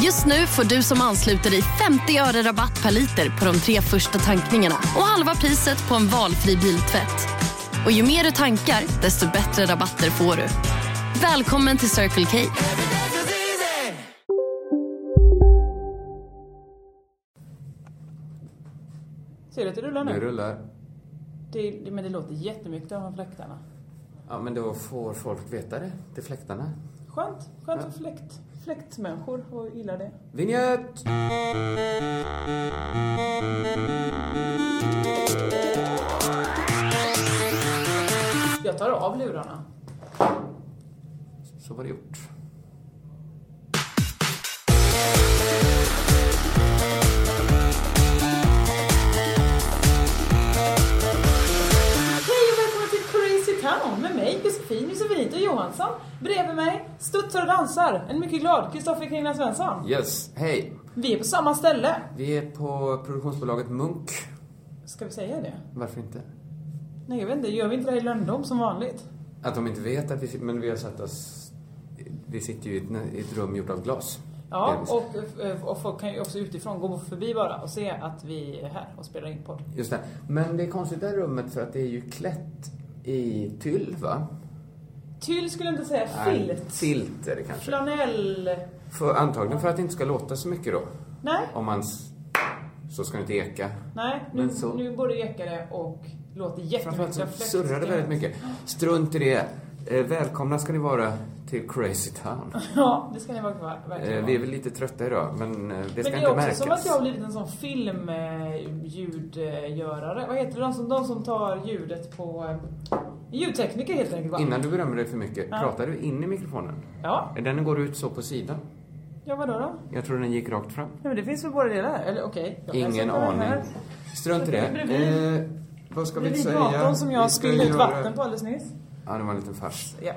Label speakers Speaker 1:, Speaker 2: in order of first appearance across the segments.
Speaker 1: Just nu får du som ansluter dig 50 öre rabatt per liter på de tre första tankningarna och halva priset på en valfri biltvätt. Och ju mer du tankar, desto bättre rabatter får du. Välkommen till Circle K.
Speaker 2: Ser du att det rullar
Speaker 3: Det
Speaker 2: nu?
Speaker 3: rullar.
Speaker 2: Det, det, men det låter jättemycket av fläktarna.
Speaker 3: Ja, men då får folk veta det till fläktarna.
Speaker 2: Skönt. Skönt för fläkt, fläktmänniskor och gillar det.
Speaker 3: Vinjett!
Speaker 2: Jag tar av lurarna.
Speaker 3: Så var det gjort.
Speaker 2: Hej och välkomna till Crazy Town med mig Josefin Josefinito Johansson. Bredvid mig studsar och dansar en mycket glad Kristoffer Kringland Svensson.
Speaker 3: Yes, hej!
Speaker 2: Vi är på samma ställe.
Speaker 3: Vi är på produktionsbolaget Munk.
Speaker 2: Ska vi säga det?
Speaker 3: Varför inte?
Speaker 2: Nej, jag vet inte. Gör vi inte det här i Lönndom som vanligt?
Speaker 3: Att de inte vet att vi sitter, men vi har satt oss... Vi sitter ju i ett, i ett rum gjort av glas.
Speaker 2: Ja,
Speaker 3: Delvis.
Speaker 2: och, eh, och folk kan ju också utifrån gå förbi bara och se att vi är här och spelar in podd.
Speaker 3: Just det. Men det är konstigt det här rummet för att det är ju klätt i tyll, va?
Speaker 2: Tyll skulle jag inte säga.
Speaker 3: Nej,
Speaker 2: Filt.
Speaker 3: Filt är det kanske.
Speaker 2: Flanell.
Speaker 3: För, antagligen för att det inte ska låta så mycket då.
Speaker 2: Nej.
Speaker 3: Om man... s- Så ska det inte eka.
Speaker 2: Nej, nu,
Speaker 3: Men så-
Speaker 2: nu både ekar det och låter jättemycket.
Speaker 3: Framförallt så
Speaker 2: av fläkt.
Speaker 3: surrar det väldigt mycket. Strunt i det. Eh, välkomna ska ni vara till Crazy Town.
Speaker 2: Ja, det ska ni vara kvar. Verkligen.
Speaker 3: Eh, vi är väl lite trötta idag, men eh,
Speaker 2: Men
Speaker 3: det ska
Speaker 2: det är
Speaker 3: inte
Speaker 2: också
Speaker 3: märkas.
Speaker 2: som att jag har blivit en sån filmljudgörare. Vad heter det? De som, de som tar ljudet på... eh, Ljudtekniker helt enkelt va?
Speaker 3: Innan du berömmer dig för mycket,
Speaker 2: Ja.
Speaker 3: pratar du in i mikrofonen?
Speaker 2: Ja,
Speaker 3: Den går ut så på sidan.
Speaker 2: ja vadå då?
Speaker 3: Jag tror den gick rakt fram.
Speaker 2: Nej, men det finns väl båda delar? Eller okej. jag kan
Speaker 3: Ingen
Speaker 2: sätta den
Speaker 3: aning.
Speaker 2: här.
Speaker 3: Strunt i det.
Speaker 2: Bredvid-
Speaker 3: Eh, vad ska vi
Speaker 2: Bredvid
Speaker 3: säga?
Speaker 2: datorn som
Speaker 3: Vi
Speaker 2: jag
Speaker 3: ska
Speaker 2: spillde ut
Speaker 3: göra-
Speaker 2: vatten på alldeles nyss.
Speaker 3: Ja, det var en liten fars.
Speaker 2: Ja.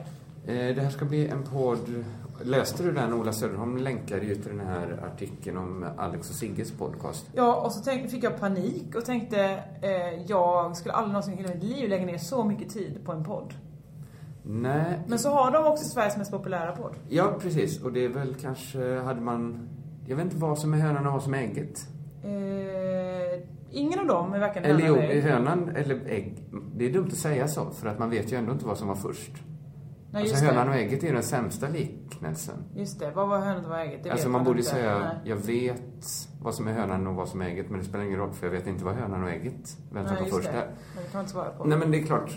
Speaker 3: Eh, det här ska bli en podd. Läste du den? Ola Söderholm länkade ju till den här artikeln om Alex och Sigges podcast.
Speaker 2: Ja, och så tänk, fick jag panik och tänkte eh, jag skulle aldrig någonsin i hela mitt liv lägga ner så mycket tid på en podd.
Speaker 3: Nej,
Speaker 2: Men så har de också Sveriges mest populära podd.
Speaker 3: Ja, precis. Och det är väl kanske, hade man... Jag vet inte vad som är hönan och vad som är ägget.
Speaker 2: Eh, ingen av dem är varken
Speaker 3: Eller jo,
Speaker 2: hönan
Speaker 3: är
Speaker 2: eller
Speaker 3: hönan eller ägg. Det är dumt att säga så, för att man vet ju ändå inte vad som var först.
Speaker 2: Nej, just,
Speaker 3: alltså hönan
Speaker 2: det.
Speaker 3: och ägget är ju den sämsta liknelsen.
Speaker 2: just det, vad var hönan och vad var ägget? Det
Speaker 3: alltså
Speaker 2: vet
Speaker 3: man borde ju
Speaker 2: inte.
Speaker 3: säga,
Speaker 2: Nej.
Speaker 3: jag vet vad som är hönan och vad som är ägget, men det spelar ingen roll för jag vet inte vad hönan och ägget, vem som
Speaker 2: Nej, just
Speaker 3: kom först
Speaker 2: det.
Speaker 3: där.
Speaker 2: Men Det kan man inte svara på.
Speaker 3: Nej men det är klart,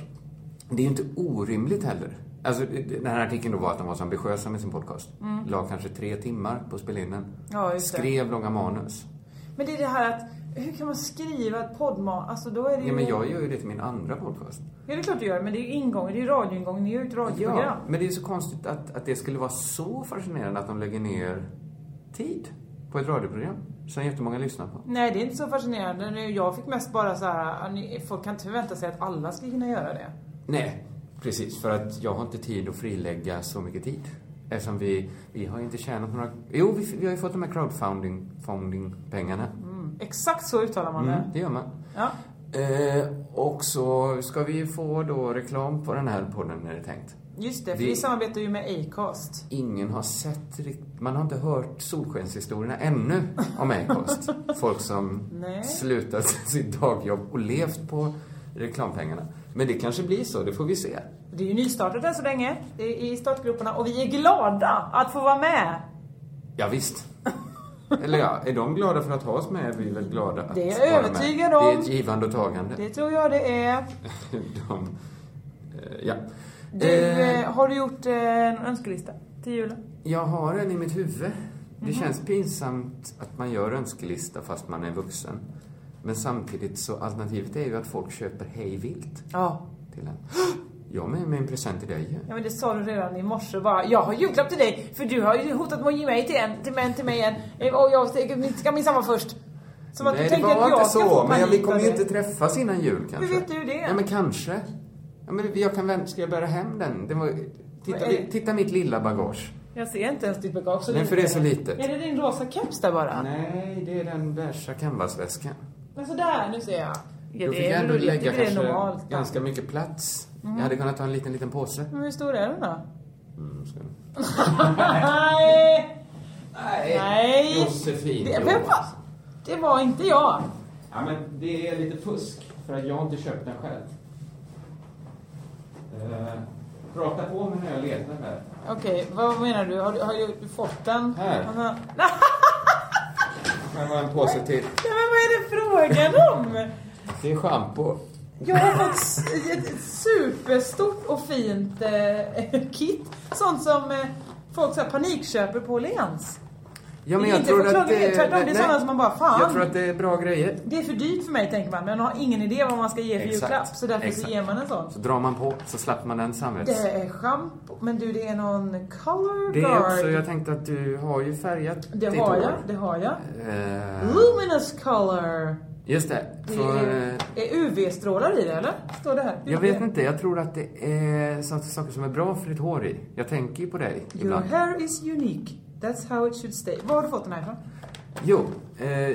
Speaker 3: det är ju inte orimligt heller. Alltså den här artikeln då var att de var så ambitiösa med sin podcast. La kanske tre timmar på att spela in den.
Speaker 2: Ja, Mm. just det.
Speaker 3: Skrev långa manus.
Speaker 2: Men det är det här att, hur kan man skriva ett poddman? Alltså då är det ju...
Speaker 3: Ja, men jag gör ju det till min andra podcast.
Speaker 2: Ja, det är klart du gör, men det är ju ingången, det är ju radioingången, det är ju ett radioprogram.
Speaker 3: men det är så konstigt att, att det skulle vara så fascinerande att de lägger ner tid på ett radioprogram som jättemånga lyssnar på.
Speaker 2: Nej, det är inte så fascinerande. Nu, Jag fick mest bara så här, ah, ni- folk kan inte förvänta sig att alla ska kunna göra det.
Speaker 3: Nej, precis. För att jag har inte tid att frilägga så mycket tid. Eftersom vi, vi har ju inte tjänat några... Jo, vi, vi har ju fått de här crowdfunding funding pengarna
Speaker 2: Mm.
Speaker 3: Mm,
Speaker 2: Exakt så uttalar man det.
Speaker 3: Det gör man.
Speaker 2: Ja.
Speaker 3: Eh, och så ska vi få då reklam på den här podden, är det tänkt.
Speaker 2: Just det, för
Speaker 3: Det-
Speaker 2: vi samarbetar ju med Acast.
Speaker 3: Ingen har sett rikt- Man har inte hört solskenshistorierna ännu om Acast. Folk som
Speaker 2: Nej.
Speaker 3: slutat sitt dagjobb och levt på reklampengarna. Men det kanske blir så, det får vi se.
Speaker 2: Det är ju nystartat än så länge. Det är i startgroparna och vi är glada att få vara med.
Speaker 3: Ja, visst. Eller ja, är de glada för att ha oss med är vi väl glada att
Speaker 2: Det är jag
Speaker 3: vara
Speaker 2: övertygad
Speaker 3: med. Det är
Speaker 2: om.
Speaker 3: ett givande och tagande.
Speaker 2: Det tror jag det är.
Speaker 3: De, eh, ja.
Speaker 2: Du,
Speaker 3: Eh,
Speaker 2: eh, har du gjort eh, en önskelista till julen?
Speaker 3: Jag har en i mitt huvud.
Speaker 2: Mhm.
Speaker 3: Det känns pinsamt att man gör önskelista fast man är vuxen. Men samtidigt så alternativet är ju att folk köper hej vilt
Speaker 2: Ja.
Speaker 3: till en. Jag har med mig en present till dig ju.
Speaker 2: Ja men det sa du redan i morse bara. Jag har julklapp till dig för du har ju hotat med att ge mig till en, till, men, till mig en. Eh, Och jag ska min- ska min samma först. Som att
Speaker 3: Nej,
Speaker 2: du
Speaker 3: det
Speaker 2: tänker
Speaker 3: var
Speaker 2: att
Speaker 3: inte
Speaker 2: jag ska få
Speaker 3: så. Men jag, vi
Speaker 2: panik
Speaker 3: kommer
Speaker 2: av
Speaker 3: ju
Speaker 2: det.
Speaker 3: inte träffas innan jul kanske.
Speaker 2: vet du det?
Speaker 3: Ja, men kanske. Ja, men jag kan vänta. Ska jag bära hem den? den var, titta,
Speaker 2: Men är-
Speaker 3: titta mitt lilla bagage.
Speaker 2: Jag ser inte ens ditt bagage. så
Speaker 3: Nej, för det är så litet.
Speaker 2: Är det din rosa keps där bara?
Speaker 3: Nej, det är den beiga canvasväskan.
Speaker 2: Men sådär, nu ser jag. Ja,
Speaker 3: Då fick
Speaker 2: det
Speaker 3: jag
Speaker 2: är
Speaker 3: ändå
Speaker 2: väl jag
Speaker 3: lägga
Speaker 2: tycker det är
Speaker 3: kanske
Speaker 2: normalt. Mhm.
Speaker 3: ganska mycket plats. Jag hade kunnat ta en liten, liten påse.
Speaker 2: Men hur stor är den då?
Speaker 3: Mm, ska du-
Speaker 2: Nej! Nej!
Speaker 3: Josefin.
Speaker 2: Det, vem
Speaker 3: Johansson.
Speaker 2: var, det var inte jag.
Speaker 3: Ja, men det är lite fusk, för att jag har inte köpt den själv. Eh, prata på mig när jag letar här.
Speaker 2: Okej, vad menar du? Har, du- har du fått den?
Speaker 3: Här.
Speaker 2: Ja, men-
Speaker 3: Här var en påse till.
Speaker 2: Nej, men vad är det frågan om?
Speaker 3: Det är schampo.
Speaker 2: Jag har fått s- ett superstort och fint eh, kit. Sånt som eh, folk så här, panikköper på Åhléns.
Speaker 3: Ja,
Speaker 2: Det är inte förklarat, det är tvärtom. Det är
Speaker 3: nej,
Speaker 2: sådana
Speaker 3: nej.
Speaker 2: som man bara, fan.
Speaker 3: Jag tror att det är bra grejer.
Speaker 2: Det är för dyrt för mig tänker man, men man har ingen idé vad man ska ge för
Speaker 3: Exakt.
Speaker 2: julklapp. Så därför så
Speaker 3: Exakt.
Speaker 2: ger man en sån.
Speaker 3: Så drar man på, så slapp man den
Speaker 2: Det
Speaker 3: samvets.
Speaker 2: är schampo, men du det är någon color
Speaker 3: Det är också,
Speaker 2: guard.
Speaker 3: jag tänkte att du har ju färgat
Speaker 2: det
Speaker 3: ditt
Speaker 2: har
Speaker 3: hår.
Speaker 2: jag, det har jag.
Speaker 3: Eh,
Speaker 2: Luminous color.
Speaker 3: just det.
Speaker 2: Det
Speaker 3: Så,
Speaker 2: är,
Speaker 3: eh,
Speaker 2: är UV-strålar i det eller? Står det här?
Speaker 3: jag vet inte, jag tror att det är sånt- saker som är bra för ditt hår i. Jag tänker ju på dig
Speaker 2: Your
Speaker 3: ibland.
Speaker 2: hair is unique. That's how it should stay. Var har du fått den här ifrån?
Speaker 3: Jo, eh,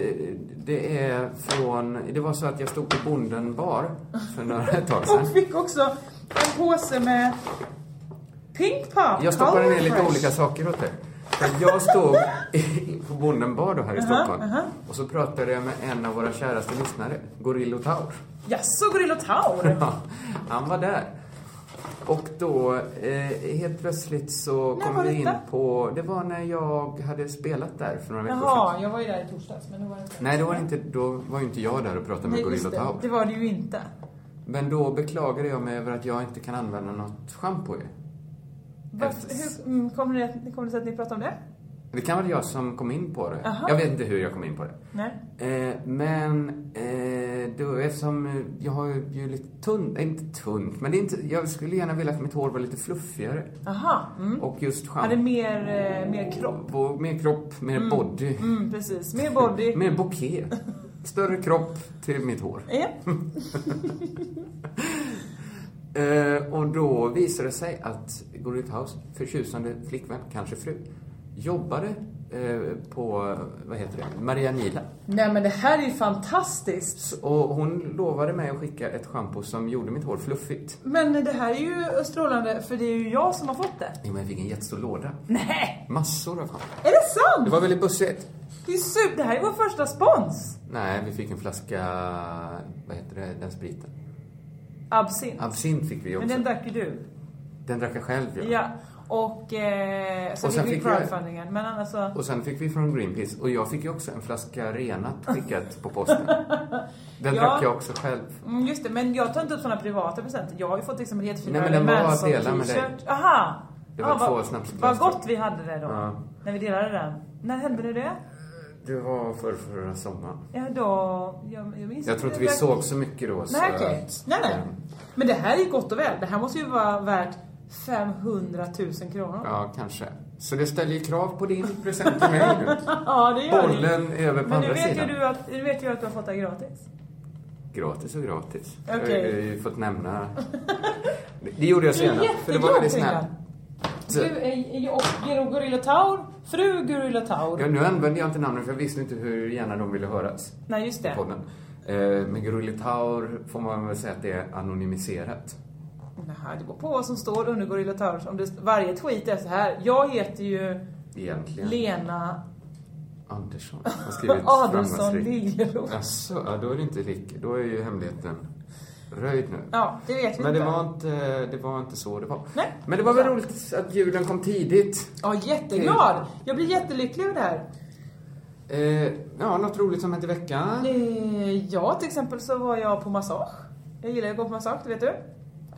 Speaker 3: det är från... Det var så att jag stod på Bonden bar för några ett tag sedan.
Speaker 2: Och fick också en påse med Pink Pop.
Speaker 3: Jag stoppade
Speaker 2: Color
Speaker 3: ner lite
Speaker 2: Fresh.
Speaker 3: olika saker åt dig. För att jag stod i- på Bonden bar då här i Stockholm.
Speaker 2: aha.
Speaker 3: Och så pratade jag med en av våra käraste lyssnare, Gorillo Taur.
Speaker 2: Jaså, Gorilla Taur?
Speaker 3: Ja, han var där. Och då, eh, helt plötsligt så
Speaker 2: När
Speaker 3: kom
Speaker 2: var
Speaker 3: vi in
Speaker 2: detta?
Speaker 3: på... Det var när jag hade spelat där för några veckor sedan.
Speaker 2: Jaha, jag var ju där i torsdags men det var inte...
Speaker 3: Nej, då var, inte, då var ju inte jag där och pratade med
Speaker 2: Nej,
Speaker 3: Gorillo
Speaker 2: just det.
Speaker 3: Taur.
Speaker 2: Det var det ju inte.
Speaker 3: Men då beklagade jag mig över att jag inte kan använda något schampo ju.
Speaker 2: Varför, hur, mm, kommer, det, kommer det sig att ni pratar om det?
Speaker 3: Det kan vara jag som kom in på det.
Speaker 2: Aha.
Speaker 3: Jag vet inte hur jag kom in på det.
Speaker 2: Nej.
Speaker 3: Eh, men eh, då, eftersom eh, jag har ju lite tunt, nej, inte tunt, men det är inte, jag skulle gärna vilja att mitt hår var lite fluffigare.
Speaker 2: Aha. Mm.
Speaker 3: Och just
Speaker 2: Hade
Speaker 3: schampo.
Speaker 2: mer, eh, mer kropp.
Speaker 3: Och mer kropp, mer body.
Speaker 2: Mm, precis. Mer body.
Speaker 3: Mer bouquet. Större kropp till mitt hår.
Speaker 2: Ja.
Speaker 3: Eh, och då visade det sig att Gorit House förtjusande flickvän, kanske fru, jobbade eh, på, vad heter det, Maria Nila.
Speaker 2: Nej men det här är ju fantastiskt.
Speaker 3: S- Och hon lovade mig att skicka ett schampo som gjorde mitt hår fluffigt.
Speaker 2: Men det här är ju strålande för det är ju jag som har fått det.
Speaker 3: Jo, men jag fick en jättestor låda.
Speaker 2: Nej!
Speaker 3: Massor av schampo.
Speaker 2: Är det
Speaker 3: Det
Speaker 2: sant?
Speaker 3: var väldigt bussigt.
Speaker 2: Det är super. Det här är vår första spons.
Speaker 3: Nej, vi fick en flaska, vad heter det, den spriten.
Speaker 2: Absint.
Speaker 3: Absint fick vi
Speaker 2: Men
Speaker 3: också.
Speaker 2: den drack ju du.
Speaker 3: Den drack jag själv, ja.
Speaker 2: Ja. Och eh, sen,
Speaker 3: Och sen
Speaker 2: fick vi
Speaker 3: fick jag-
Speaker 2: crowdfundingen. Men annars så...
Speaker 3: Och sen fick vi från Greenpeace, och jag fick ju också en flaska renat skickat på posten. Den
Speaker 2: Ja.
Speaker 3: drack jag också själv.
Speaker 2: Mm, just det, men jag tar inte upp sådana privata presenter. Jag har ju fått liksom en jättefin
Speaker 3: Nej, men den var att
Speaker 2: Manson
Speaker 3: dela med dig.
Speaker 2: t-shirt. Aha!
Speaker 3: Det var
Speaker 2: Ja,
Speaker 3: två
Speaker 2: vad- Vad
Speaker 3: snapsglaster.
Speaker 2: gott vi hade det då.
Speaker 3: Ja.
Speaker 2: När vi delade den. När hände det det?
Speaker 3: Det var förra, förra sommaren.
Speaker 2: Ja, då... Jag, jag minns
Speaker 3: Jag tror inte vi
Speaker 2: det.
Speaker 3: såg så mycket då. så
Speaker 2: Nej, okej.
Speaker 3: att- Mm.
Speaker 2: Nej, nej. Men det här är ju gott och väl. Det här måste ju vara värt 500 000 kronor.
Speaker 3: Ja, kanske. Så det ställer ju krav på din present till mig nu.
Speaker 2: Ja, det gör det.
Speaker 3: Bollen är över på
Speaker 2: Men nu
Speaker 3: andra
Speaker 2: vet, ju
Speaker 3: sidan.
Speaker 2: du att, nu vet ju att du har fått det här gratis.
Speaker 3: Gratis och gratis.
Speaker 2: Okej.
Speaker 3: Jag har ju fått nämna... Det gjorde jag
Speaker 2: Du är
Speaker 3: senare, för det var väldigt snällt.
Speaker 2: jätteglad
Speaker 3: Så-
Speaker 2: Du är ju och Gorilla Taur, fru Gorilla Taur.
Speaker 3: Ja, nu använde jag inte namnen för jag visste inte hur gärna de ville höras
Speaker 2: Nej, just
Speaker 3: i
Speaker 2: det.
Speaker 3: podden. Eh, Men Grulitaur får man väl säga att det är anonymiserat.
Speaker 2: Nej, det beror på vad som står under Gorilla Taur. Om det, varje tweet är så här. Jag heter ju
Speaker 3: Egentligen.
Speaker 2: Lena
Speaker 3: Andersson har skrivit
Speaker 2: Adolfsson
Speaker 3: framgångsrikt.
Speaker 2: Liljeroth.
Speaker 3: Jaså, ja, då är det inte lika. Då är ju hemligheten röjd nu.
Speaker 2: Ja, det vet vi
Speaker 3: Men det
Speaker 2: inte.
Speaker 3: var inte, det var inte så det var.
Speaker 2: Nej.
Speaker 3: Men det var väl roligt att julen kom tidigt.
Speaker 2: Ja, jätteglad! Jag blir jättelycklig över det här.
Speaker 3: Eh, ja, något roligt som hände i veckan.
Speaker 2: Eh, Ja, till exempel så var jag på massage. Jag gillar att gå på massage, det vet du.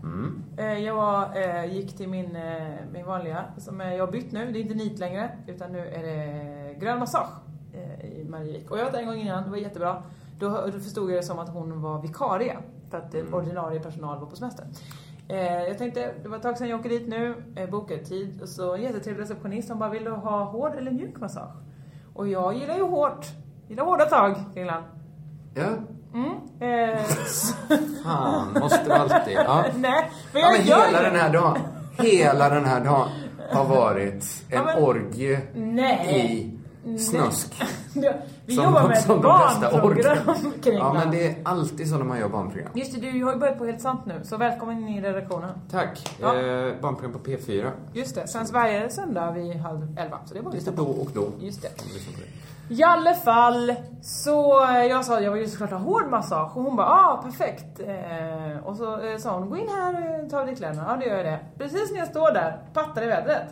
Speaker 3: Mm.
Speaker 2: Eh, Jag var, eh, gick till min, eh, min vanliga, som eh, jag har bytt nu. Det är inte nit längre, utan nu är det grön massage eh, i Marievik. Och jag var där en gång innan, det var jättebra. Då, hö- då förstod jag det som att hon var vikarie, för att mm. ordinarie personal var på semester. Eh, jag tänkte, det var ett tag sedan jag åker dit nu, eh, bokade tid och så en jättetrevlig receptionist som bara, vill du ha hård eller mjuk massage? Och jag gillar ju hårt. Gillar hårda tag, Kringlan.
Speaker 3: Ja,
Speaker 2: Mm. Eh,
Speaker 3: fan, måste vara alltid. Ja.
Speaker 2: nej, men
Speaker 3: ja,
Speaker 2: jag
Speaker 3: men
Speaker 2: gör
Speaker 3: hela
Speaker 2: ju-
Speaker 3: den här dagen, hela den här dagen har varit en
Speaker 2: Ja, men-
Speaker 3: orgie
Speaker 2: Nej. Mm.
Speaker 3: i snusk.
Speaker 2: Du- Vi
Speaker 3: Som
Speaker 2: jobbar
Speaker 3: de-
Speaker 2: med ett
Speaker 3: som de bästa
Speaker 2: barnprogram,
Speaker 3: orken. Ja,
Speaker 2: Kringlan.
Speaker 3: men det är alltid så när man gör barnprogram.
Speaker 2: Just det, du har ju börjat på Helt Sant nu, så välkommen in i redaktionen.
Speaker 3: Tack.
Speaker 2: Ja.
Speaker 3: Eh, barnprogram på P4.
Speaker 2: Just det, sänds varje söndag vid halv elva, så det var
Speaker 3: Lite
Speaker 2: lite
Speaker 3: då och då.
Speaker 2: Just det.
Speaker 3: Lyssna på det.
Speaker 2: I alla fall, så eh, jag sa jag vill ju såklart ha hård massage och hon bara ah perfekt. Eh, och så eh, sa hon gå in här och ta av dig kläderna. Ja det gör jag det. Precis när jag står där, pattar i vädret.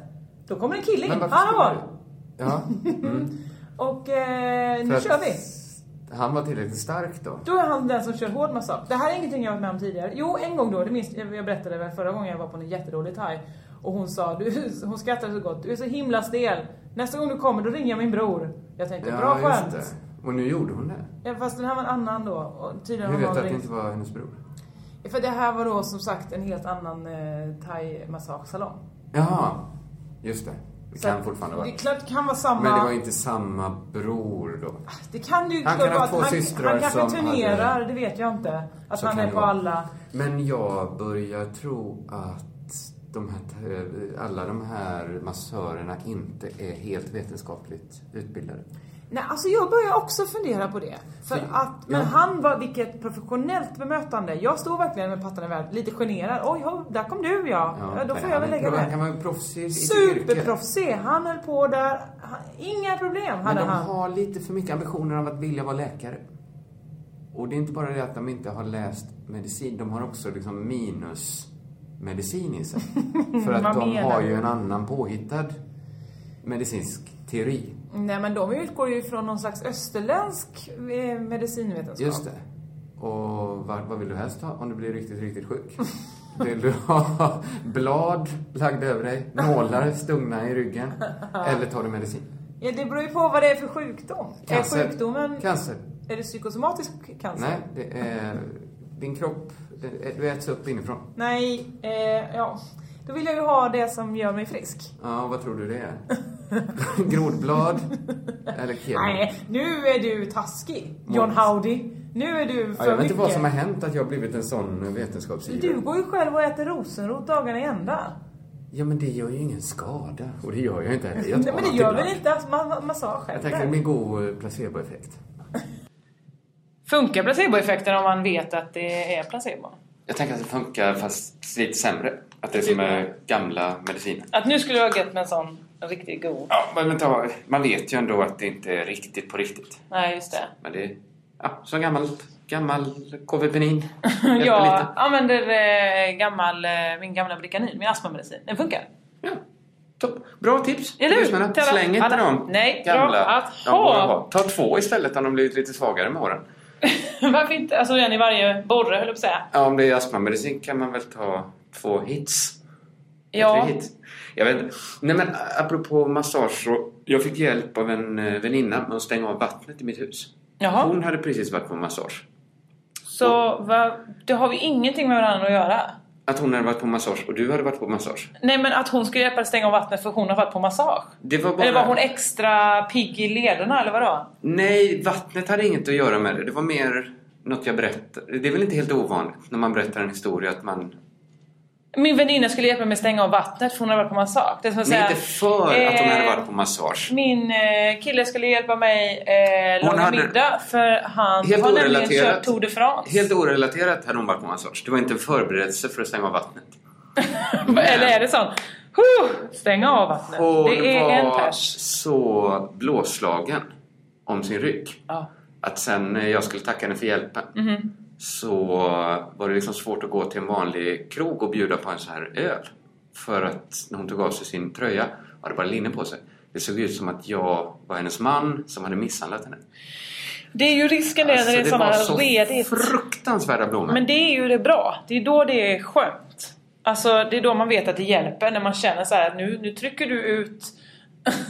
Speaker 2: Då kommer en kille in,
Speaker 3: Men varför
Speaker 2: han
Speaker 3: skulle
Speaker 2: var.
Speaker 3: du- Ja. Mm.
Speaker 2: Och eh,
Speaker 3: För
Speaker 2: nu
Speaker 3: att
Speaker 2: kör vi.
Speaker 3: Han var tillräckligt stark då.
Speaker 2: Då är han den som kör hård massage. Det här är ingenting jag varit med om tidigare. Jo, en gång då, det minns jag, jag berättade väl förra gången jag var på en jätterolig thai. Och hon sa, du, hon skrattade så gott, du är så himla stel. Nästa gång du kommer då ringer jag min bror. Jag tänkte, bra skönt.
Speaker 3: det. Och nu gjorde hon det.
Speaker 2: Ja, Fast den här var en annan då. Och tydligen
Speaker 3: Hur
Speaker 2: har någon
Speaker 3: vet du att det
Speaker 2: ringt.
Speaker 3: inte var hennes bror?
Speaker 2: För det här var då som sagt en helt annan eh, thai-massagesalong.
Speaker 3: Jaha, just det. Det
Speaker 2: Så
Speaker 3: kan
Speaker 2: att
Speaker 3: fortfarande vara.
Speaker 2: Det är klart det kan vara samma...
Speaker 3: Men det var inte samma bror då.
Speaker 2: Det kan ju
Speaker 3: Han
Speaker 2: klart
Speaker 3: kan ha
Speaker 2: vara
Speaker 3: två
Speaker 2: att
Speaker 3: systrar
Speaker 2: han kanske
Speaker 3: som
Speaker 2: turnerar,
Speaker 3: hade-
Speaker 2: det vet jag inte. Att
Speaker 3: Så
Speaker 2: han
Speaker 3: kan
Speaker 2: är
Speaker 3: det
Speaker 2: på
Speaker 3: vara.
Speaker 2: alla...
Speaker 3: Men jag börjar tro att de här, alla de här massörerna inte är helt vetenskapligt utbildade.
Speaker 2: Nej, alltså jag börjar också fundera på det. För
Speaker 3: Ja.
Speaker 2: att, men han var, vilket professionellt bemötande. Jag stod verkligen med pattarna i världen, lite generad. Oj, ho, där kom du ja. ja, då
Speaker 3: nej,
Speaker 2: får
Speaker 3: han
Speaker 2: jag väl
Speaker 3: är
Speaker 2: lägga
Speaker 3: proff- Han kan
Speaker 2: det.
Speaker 3: vara proffsig i sitt yrke.
Speaker 2: Superproffsig, han höll på där. Han, inga problem
Speaker 3: Men
Speaker 2: hade
Speaker 3: de
Speaker 2: han.
Speaker 3: har lite för mycket ambitioner av att vilja vara läkare. Och det är inte bara det att de inte har läst medicin, de har också liksom minusmedicin i sig. För att
Speaker 2: Vad
Speaker 3: de
Speaker 2: menar
Speaker 3: har
Speaker 2: du?
Speaker 3: ju en annan påhittad medicinsk teori.
Speaker 2: Nej men de utgår ju från någon slags österländsk eh, medicinvetenskap.
Speaker 3: Just det. Och vad, vad vill du helst ha om du blir riktigt, riktigt sjuk? Vill du ha blad lagda över dig, nålar stungna i ryggen eller tar du medicin?
Speaker 2: Ja, det beror ju på vad det är för sjukdom. Är sjukdomen...
Speaker 3: Cancer.
Speaker 2: Är det psykosomatisk cancer?
Speaker 3: Nej, det är din kropp. det- Du äts upp inifrån.
Speaker 2: Nej, eh, ja. Då vill jag ju ha det som gör mig frisk.
Speaker 3: Ja, vad tror du det är? Grodblad? Eller kebab?
Speaker 2: Nej, nu är du taskig. John
Speaker 3: Måns.
Speaker 2: Howdy. Nu är du
Speaker 3: Ja,
Speaker 2: för
Speaker 3: jag vet
Speaker 2: mycket.
Speaker 3: inte vad som har hänt att jag har blivit en sån vetenskapsivrare.
Speaker 2: Du går ju själv och äter rosenrot dagarna i ända.
Speaker 3: Ja, men det gör ju ingen skada. Och det gör jag inte heller. Jag
Speaker 2: Nej,
Speaker 3: tar
Speaker 2: men det
Speaker 3: allt
Speaker 2: gör
Speaker 3: ibland.
Speaker 2: väl inte att man massage
Speaker 3: typ Jag tänker att det blir en god eh, placeboeffekt.
Speaker 2: Funkar placeboeffekten om man vet att det är placebo?
Speaker 3: Jag tänker att det funkar fast lite sämre. Att det är
Speaker 2: som, eh,
Speaker 3: gamla mediciner.
Speaker 2: Att nu skulle jag ha gett med en sån riktigt god.
Speaker 3: Ja, men vänta, man vet ju ändå att det inte är riktigt på riktigt.
Speaker 2: Nej, just det.
Speaker 3: Men det är ja, så gammalt, gammal kovipenin.
Speaker 2: Jag använder eh, gammal, eh, min gamla Bricanyl, min astmamedicin. Den funkar.
Speaker 3: Ja. Topp. Bra tips!
Speaker 2: Eller hur?
Speaker 3: Lyssnarna,
Speaker 2: Till alla-
Speaker 3: Släng inte
Speaker 2: alla-
Speaker 3: dem
Speaker 2: Nej, bra
Speaker 3: gamla.
Speaker 2: att
Speaker 3: de
Speaker 2: ha.
Speaker 3: borde Ta två istället om de blivit lite svagare med åren.
Speaker 2: Varför inte? Alltså en i varje borre höll jag på att säga.
Speaker 3: Ja, om det är astmamedicin kan man väl ta två hits?
Speaker 2: Ja.
Speaker 3: Tre hits. Jag vet inte. Nej men apropå massage så jag fick hjälp av en eh, väninna med att stänga av vattnet i mitt hus.
Speaker 2: Jaha.
Speaker 3: Hon hade precis varit på massage.
Speaker 2: Så va, det har vi ingenting med varandra att göra.
Speaker 3: Att hon hade varit på massage och du hade varit på massage.
Speaker 2: Nej men att hon skulle hjälpa dig stänga av vattnet för hon har varit på massage.
Speaker 3: Det var bara...
Speaker 2: Eller var hon extra pigg i lederna eller vadå?
Speaker 3: Nej, vattnet hade inget att göra med det. Det var mer något jag berättade. Det är väl inte helt ovanligt när man berättar en historia att man
Speaker 2: Min väninna skulle hjälpa mig stänga av vattnet för hon har varit på massage. Det är som att
Speaker 3: Nej,
Speaker 2: säga,
Speaker 3: inte för att hon hade
Speaker 2: eh,
Speaker 3: varit på massage.
Speaker 2: Min eh, kille skulle hjälpa mig eh,
Speaker 3: Hon
Speaker 2: laga
Speaker 3: hade-
Speaker 2: middag för han
Speaker 3: Helt
Speaker 2: har nämligen
Speaker 3: orelaterat.
Speaker 2: kört Tour de France.
Speaker 3: Helt orelaterat hade hon varit på massage. Det var inte en förberedelse för att stänga av vattnet.
Speaker 2: eller är det sånt? Huh, stänga av vattnet.
Speaker 3: Och
Speaker 2: det är
Speaker 3: var
Speaker 2: en pers.
Speaker 3: så blåslagen om sin rygg
Speaker 2: Ja. Mhm.
Speaker 3: att sen när jag skulle tacka henne för hjälpen så var det liksom svårt att gå till en vanlig krog och bjuda på en sån här öl. För att när hon tog av sig sin tröja hade bara linne på sig. Det såg ut som att jag var hennes man som hade misshandlat henne.
Speaker 2: Det är ju risken det när det är sådana
Speaker 3: Alltså, var så
Speaker 2: redigt.
Speaker 3: fruktansvärda blommor.
Speaker 2: Men det är ju det bra. Det är då det är skönt. Alltså det är då man vet att det hjälper. När man känner så här att nu, nu trycker du ut...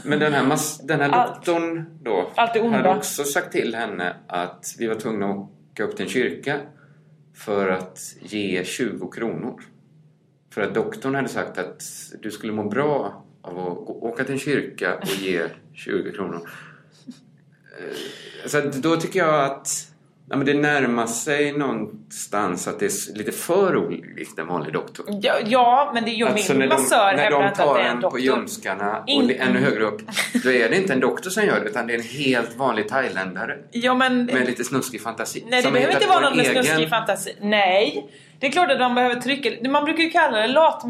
Speaker 3: Men den här, mas- den här
Speaker 2: Allt.
Speaker 3: doktorn då
Speaker 2: Allt det onda.
Speaker 3: hade också sagt till henne att vi var tvungna att åka upp till en kyrka för att ge 20 kronor. För att doktorn hade sagt att du skulle må bra av att gå- åka till en kyrka och ge 20 kronor. Eh, Så att då tycker jag att ja, men det närmar sig någonstans att det är s- lite för olikt en vanlig doktor.
Speaker 2: Ja, ja men det är ju
Speaker 3: Alltså
Speaker 2: min
Speaker 3: när de,
Speaker 2: massör
Speaker 3: när
Speaker 2: hävdar
Speaker 3: de
Speaker 2: inte att
Speaker 3: tar
Speaker 2: det är en
Speaker 3: en på
Speaker 2: doktor.
Speaker 3: ljumskarna och
Speaker 2: In-
Speaker 3: li- ännu högre upp, då är det inte en doktor som gör det utan det är en helt vanlig thailändare
Speaker 2: Ja, men,
Speaker 3: med lite snuskig fantasi.
Speaker 2: nej, det
Speaker 3: som har
Speaker 2: behöver inte
Speaker 3: hittat
Speaker 2: vara
Speaker 3: på
Speaker 2: någon med
Speaker 3: en
Speaker 2: snuskig fantasi. Nej, det är klart att de behöver trycka. Man brukar ju kalla det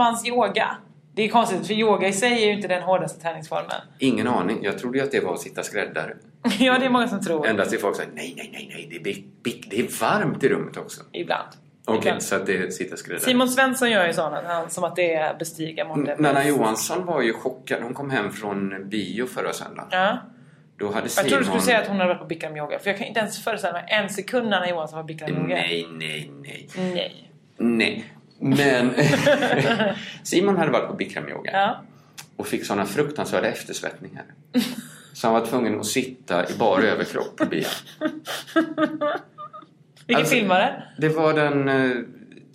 Speaker 2: latmansyoga. Det är konstigt, för yoga i sig är ju inte den hårdaste träningsformen.
Speaker 3: Ingen aning. Jag trodde ju att det var att sitta skräddare.
Speaker 2: ja, det är många som tror.
Speaker 3: Ända till folk säger nej, nej, nej, nej, det är, bik, bik, det är varmt i rummet också.
Speaker 2: Ibland.
Speaker 3: Okej,
Speaker 2: Ibland.
Speaker 3: så att det är att sitta skräddare.
Speaker 2: Simon Svensson gör ju sådana, han, som att det är bestiga måndag.
Speaker 3: Nanna Johansson var ju chockad. Hon kom hem från bio förra söndagen.
Speaker 2: Ja.
Speaker 3: Då hade
Speaker 2: Jag
Speaker 3: Simon...
Speaker 2: trodde du skulle säga att hon hade varit på Bikram Yoga, för jag kan inte ens föreställa mig en sekund när Anna Johansson var på Bikram Yoga.
Speaker 3: Nej, nej, nej.
Speaker 2: Nej.
Speaker 3: Nej. Men Simon hade varit på Bikramyoga
Speaker 2: Ja.
Speaker 3: och fick sådana fruktansvärda eftersvettningar. Så han var tvungen att sitta i bara överkropp på bilen.
Speaker 2: Vilken
Speaker 3: Alltså-
Speaker 2: film var det?
Speaker 3: Det var den eh,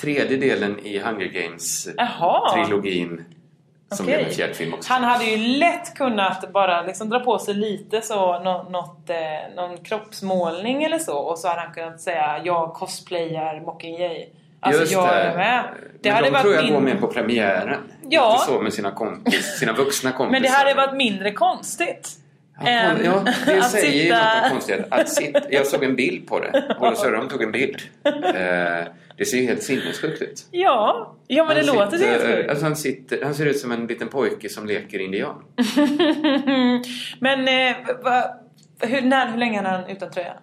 Speaker 3: tredje delen i Hunger Games-trilogin
Speaker 2: Jaha!
Speaker 3: som
Speaker 2: Okej.
Speaker 3: blev en fjärrfilm också.
Speaker 2: Han hade ju lätt kunnat bara liksom dra på sig lite så, nå- något, eh, någon kroppsmålning eller så och så hade han kunnat säga jag cosplayar Mockingjay. Alltså
Speaker 3: Just
Speaker 2: jag
Speaker 3: det.
Speaker 2: är med. Det
Speaker 3: Men
Speaker 2: hade
Speaker 3: de tror jag
Speaker 2: varit
Speaker 3: går
Speaker 2: min...
Speaker 3: med på premiären.
Speaker 2: Ja.
Speaker 3: Inte så med sina, kompis, sina vuxna kompisar.
Speaker 2: Men det hade varit mindre konstigt.
Speaker 3: Ja,
Speaker 2: än
Speaker 3: ja det
Speaker 2: att
Speaker 3: säger ju
Speaker 2: sitta-
Speaker 3: något om konstigt. Att sitta, jag såg en bild på det. Ola Sörholm tog en bild. Eh, det ser ju helt sinnessjukt ut.
Speaker 2: Ja, ja men det
Speaker 3: Han
Speaker 2: låter
Speaker 3: sitter-
Speaker 2: sitter... helt sjukt.
Speaker 3: alltså han, sitter, han ser ut som en liten pojke som leker indian.
Speaker 2: Men eh, va, hur, när, hur länge är han utan tröja?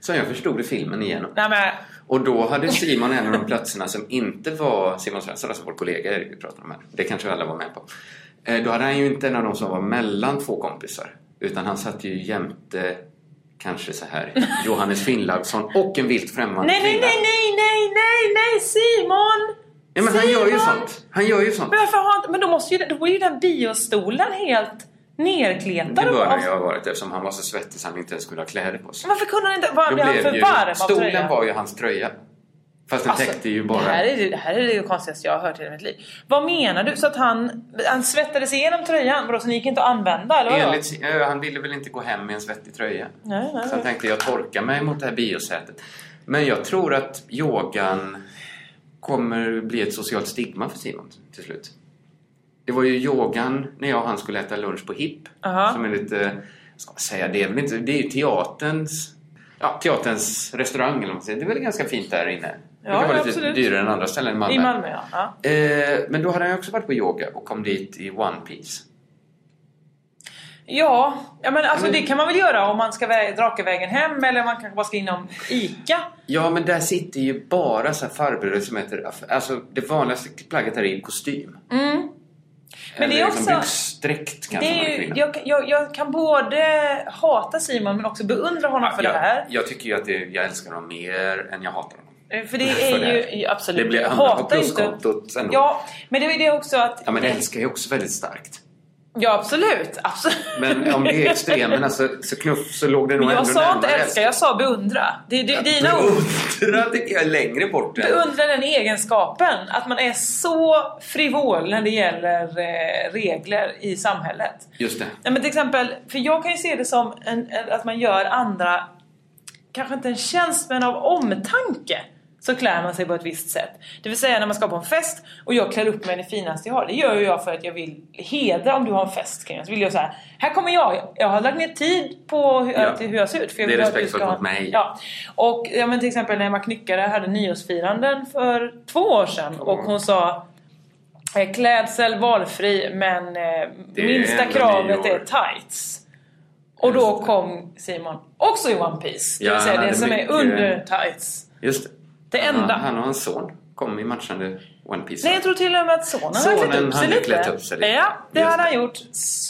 Speaker 3: Så jag förstod det filmen igenom.
Speaker 2: Nej men
Speaker 3: Och då hade Simon en av de platserna som inte var Simon Svensson, alltså vår kollega Erik vi pratar om här. Det kanske alla var med på. Eh, Då hade han ju inte en av de som var mellan två kompisar. Utan han satt ju jämte kanske så här Johannes Finnlaugsson och en vilt främmande
Speaker 2: nej, nej, nej,
Speaker 3: kvinna.
Speaker 2: nej, nej, nej, nej, Simon!
Speaker 3: Nej, men han gör ju
Speaker 2: Simon!
Speaker 3: sånt. Han gör ju sånt.
Speaker 2: Men varför har inte... Men då måste ju... Då är ju den biostolen helt nerkletad.
Speaker 3: Det bör
Speaker 2: av-
Speaker 3: han ju ha varit eftersom han var så svettig så han inte ens skulle ha kläder på sig.
Speaker 2: Varför kunde han inte... Var,
Speaker 3: Då
Speaker 2: blev han
Speaker 3: blev
Speaker 2: för
Speaker 3: ju-
Speaker 2: varm av
Speaker 3: Stolen
Speaker 2: tröjan?
Speaker 3: var ju hans tröja. Fast den
Speaker 2: Alltså,
Speaker 3: täckte ju
Speaker 2: Det här,
Speaker 3: bara...
Speaker 2: är, ju- det här är det konstigaste jag har hört i hela mitt liv. Vad menar du? Så att han, han svettades igenom tröjan? Vadå, så den gick inte att använda? Eller vadå?
Speaker 3: Enligt, eh, han ville väl inte gå hem med en svettig tröja.
Speaker 2: Nej, nej,
Speaker 3: Så han tänkte jag torkar mig mot det här biosätet. Men jag tror att yogan kommer bli ett socialt stigma för Simon till slut. Det var ju yogan när jag och han skulle äta lunch på HIP.
Speaker 2: Aha.
Speaker 3: Som är lite, vad ska man säga, det är väl inte, det är ju teaterns, ja, teaterns restaurang eller vad man säger. Det är väl ganska fint där inne. det
Speaker 2: Ja,
Speaker 3: kan vara
Speaker 2: ja,
Speaker 3: lite
Speaker 2: absolut.
Speaker 3: dyrare än andra ställen i Malmö.
Speaker 2: I Malmö ja. ja.
Speaker 3: Eh, men då hade han ju också varit på yoga och kom dit i one piece.
Speaker 2: Ja, ja men alltså
Speaker 3: Men-
Speaker 2: det kan man väl göra om man ska vä- draka vägen hem eller man kanske bara ska inom ICA.
Speaker 3: Ja, men där sitter ju bara så här farbröder som heter... Alltså, det vanligaste plagget här är ju kostym.
Speaker 2: Mm. Men det är
Speaker 3: Eller
Speaker 2: också-
Speaker 3: Liksom byxdräkt kanske man
Speaker 2: Det är ju,
Speaker 3: kvinna.
Speaker 2: jag, jag, jag kan både hata Simon men också beundra honom för det här.
Speaker 3: Jag, jag tycker ju att det, jag älskar dem mer än jag hatar dem.
Speaker 2: Eh, För det
Speaker 3: För
Speaker 2: är
Speaker 3: det här.
Speaker 2: ju absolut...
Speaker 3: Det blir
Speaker 2: jag
Speaker 3: hamnar på
Speaker 2: hatar inte-
Speaker 3: pluskontot ändå.
Speaker 2: Ja, men det är ju det också att...
Speaker 3: Ja, men älskar är ju också väldigt starkt.
Speaker 2: Ja, absolut. absolut.
Speaker 3: Men om det är extremen alltså, så knuff så låg det nog
Speaker 2: Men jag
Speaker 3: ändå
Speaker 2: sa inte
Speaker 3: närmare
Speaker 2: älska, jag sa beundra. Det är di- dina ord.
Speaker 3: Beundra tycker jag är längre bort än...
Speaker 2: Beundra den egenskapen, att man är så frivol när det gäller eh, regler i samhället.
Speaker 3: Just det.
Speaker 2: Nej, men till exempel, för jag kan ju se det som en, en, att man gör andra, kanske inte en tjänst men av omtanke så klär man sig på ett visst sätt. Det vill säga när man ska på en fest och jag klär upp mig det finaste jag har. Det gör ju jag för att jag vill hedra om du har en fest Kenya. Så vill jag så här, här kommer jag. Jag har lagt ner tid på hur,
Speaker 3: Ja.
Speaker 2: till hur jag ser ut. För jag
Speaker 3: Det är
Speaker 2: vill att du
Speaker 3: respektfullt
Speaker 2: ska ha-
Speaker 3: mot mig.
Speaker 2: Ja. Och ja, men till exempel när Emma Knyckare hade nyårsfiranden för två år sedan och hon sa eh, Klädsel valfri men eh,
Speaker 3: Det är
Speaker 2: minsta
Speaker 3: ändå
Speaker 2: kravet
Speaker 3: nyår.
Speaker 2: är tights. Och då kom Simon också i One Piece. Det
Speaker 3: Ja,
Speaker 2: vill säga
Speaker 3: han
Speaker 2: det
Speaker 3: hade
Speaker 2: som är
Speaker 3: mycket-
Speaker 2: under tights.
Speaker 3: Just det.
Speaker 2: Det enda.
Speaker 3: Han, han och hans son kom i matchande One Piece.
Speaker 2: Nej jag tror till och med att sonen,
Speaker 3: Sonen
Speaker 2: har klätt upp sig
Speaker 3: hade
Speaker 2: lite.
Speaker 3: klätt upp sig lite.
Speaker 2: Ja, det
Speaker 3: Just
Speaker 2: hade
Speaker 3: det.
Speaker 2: han gjort.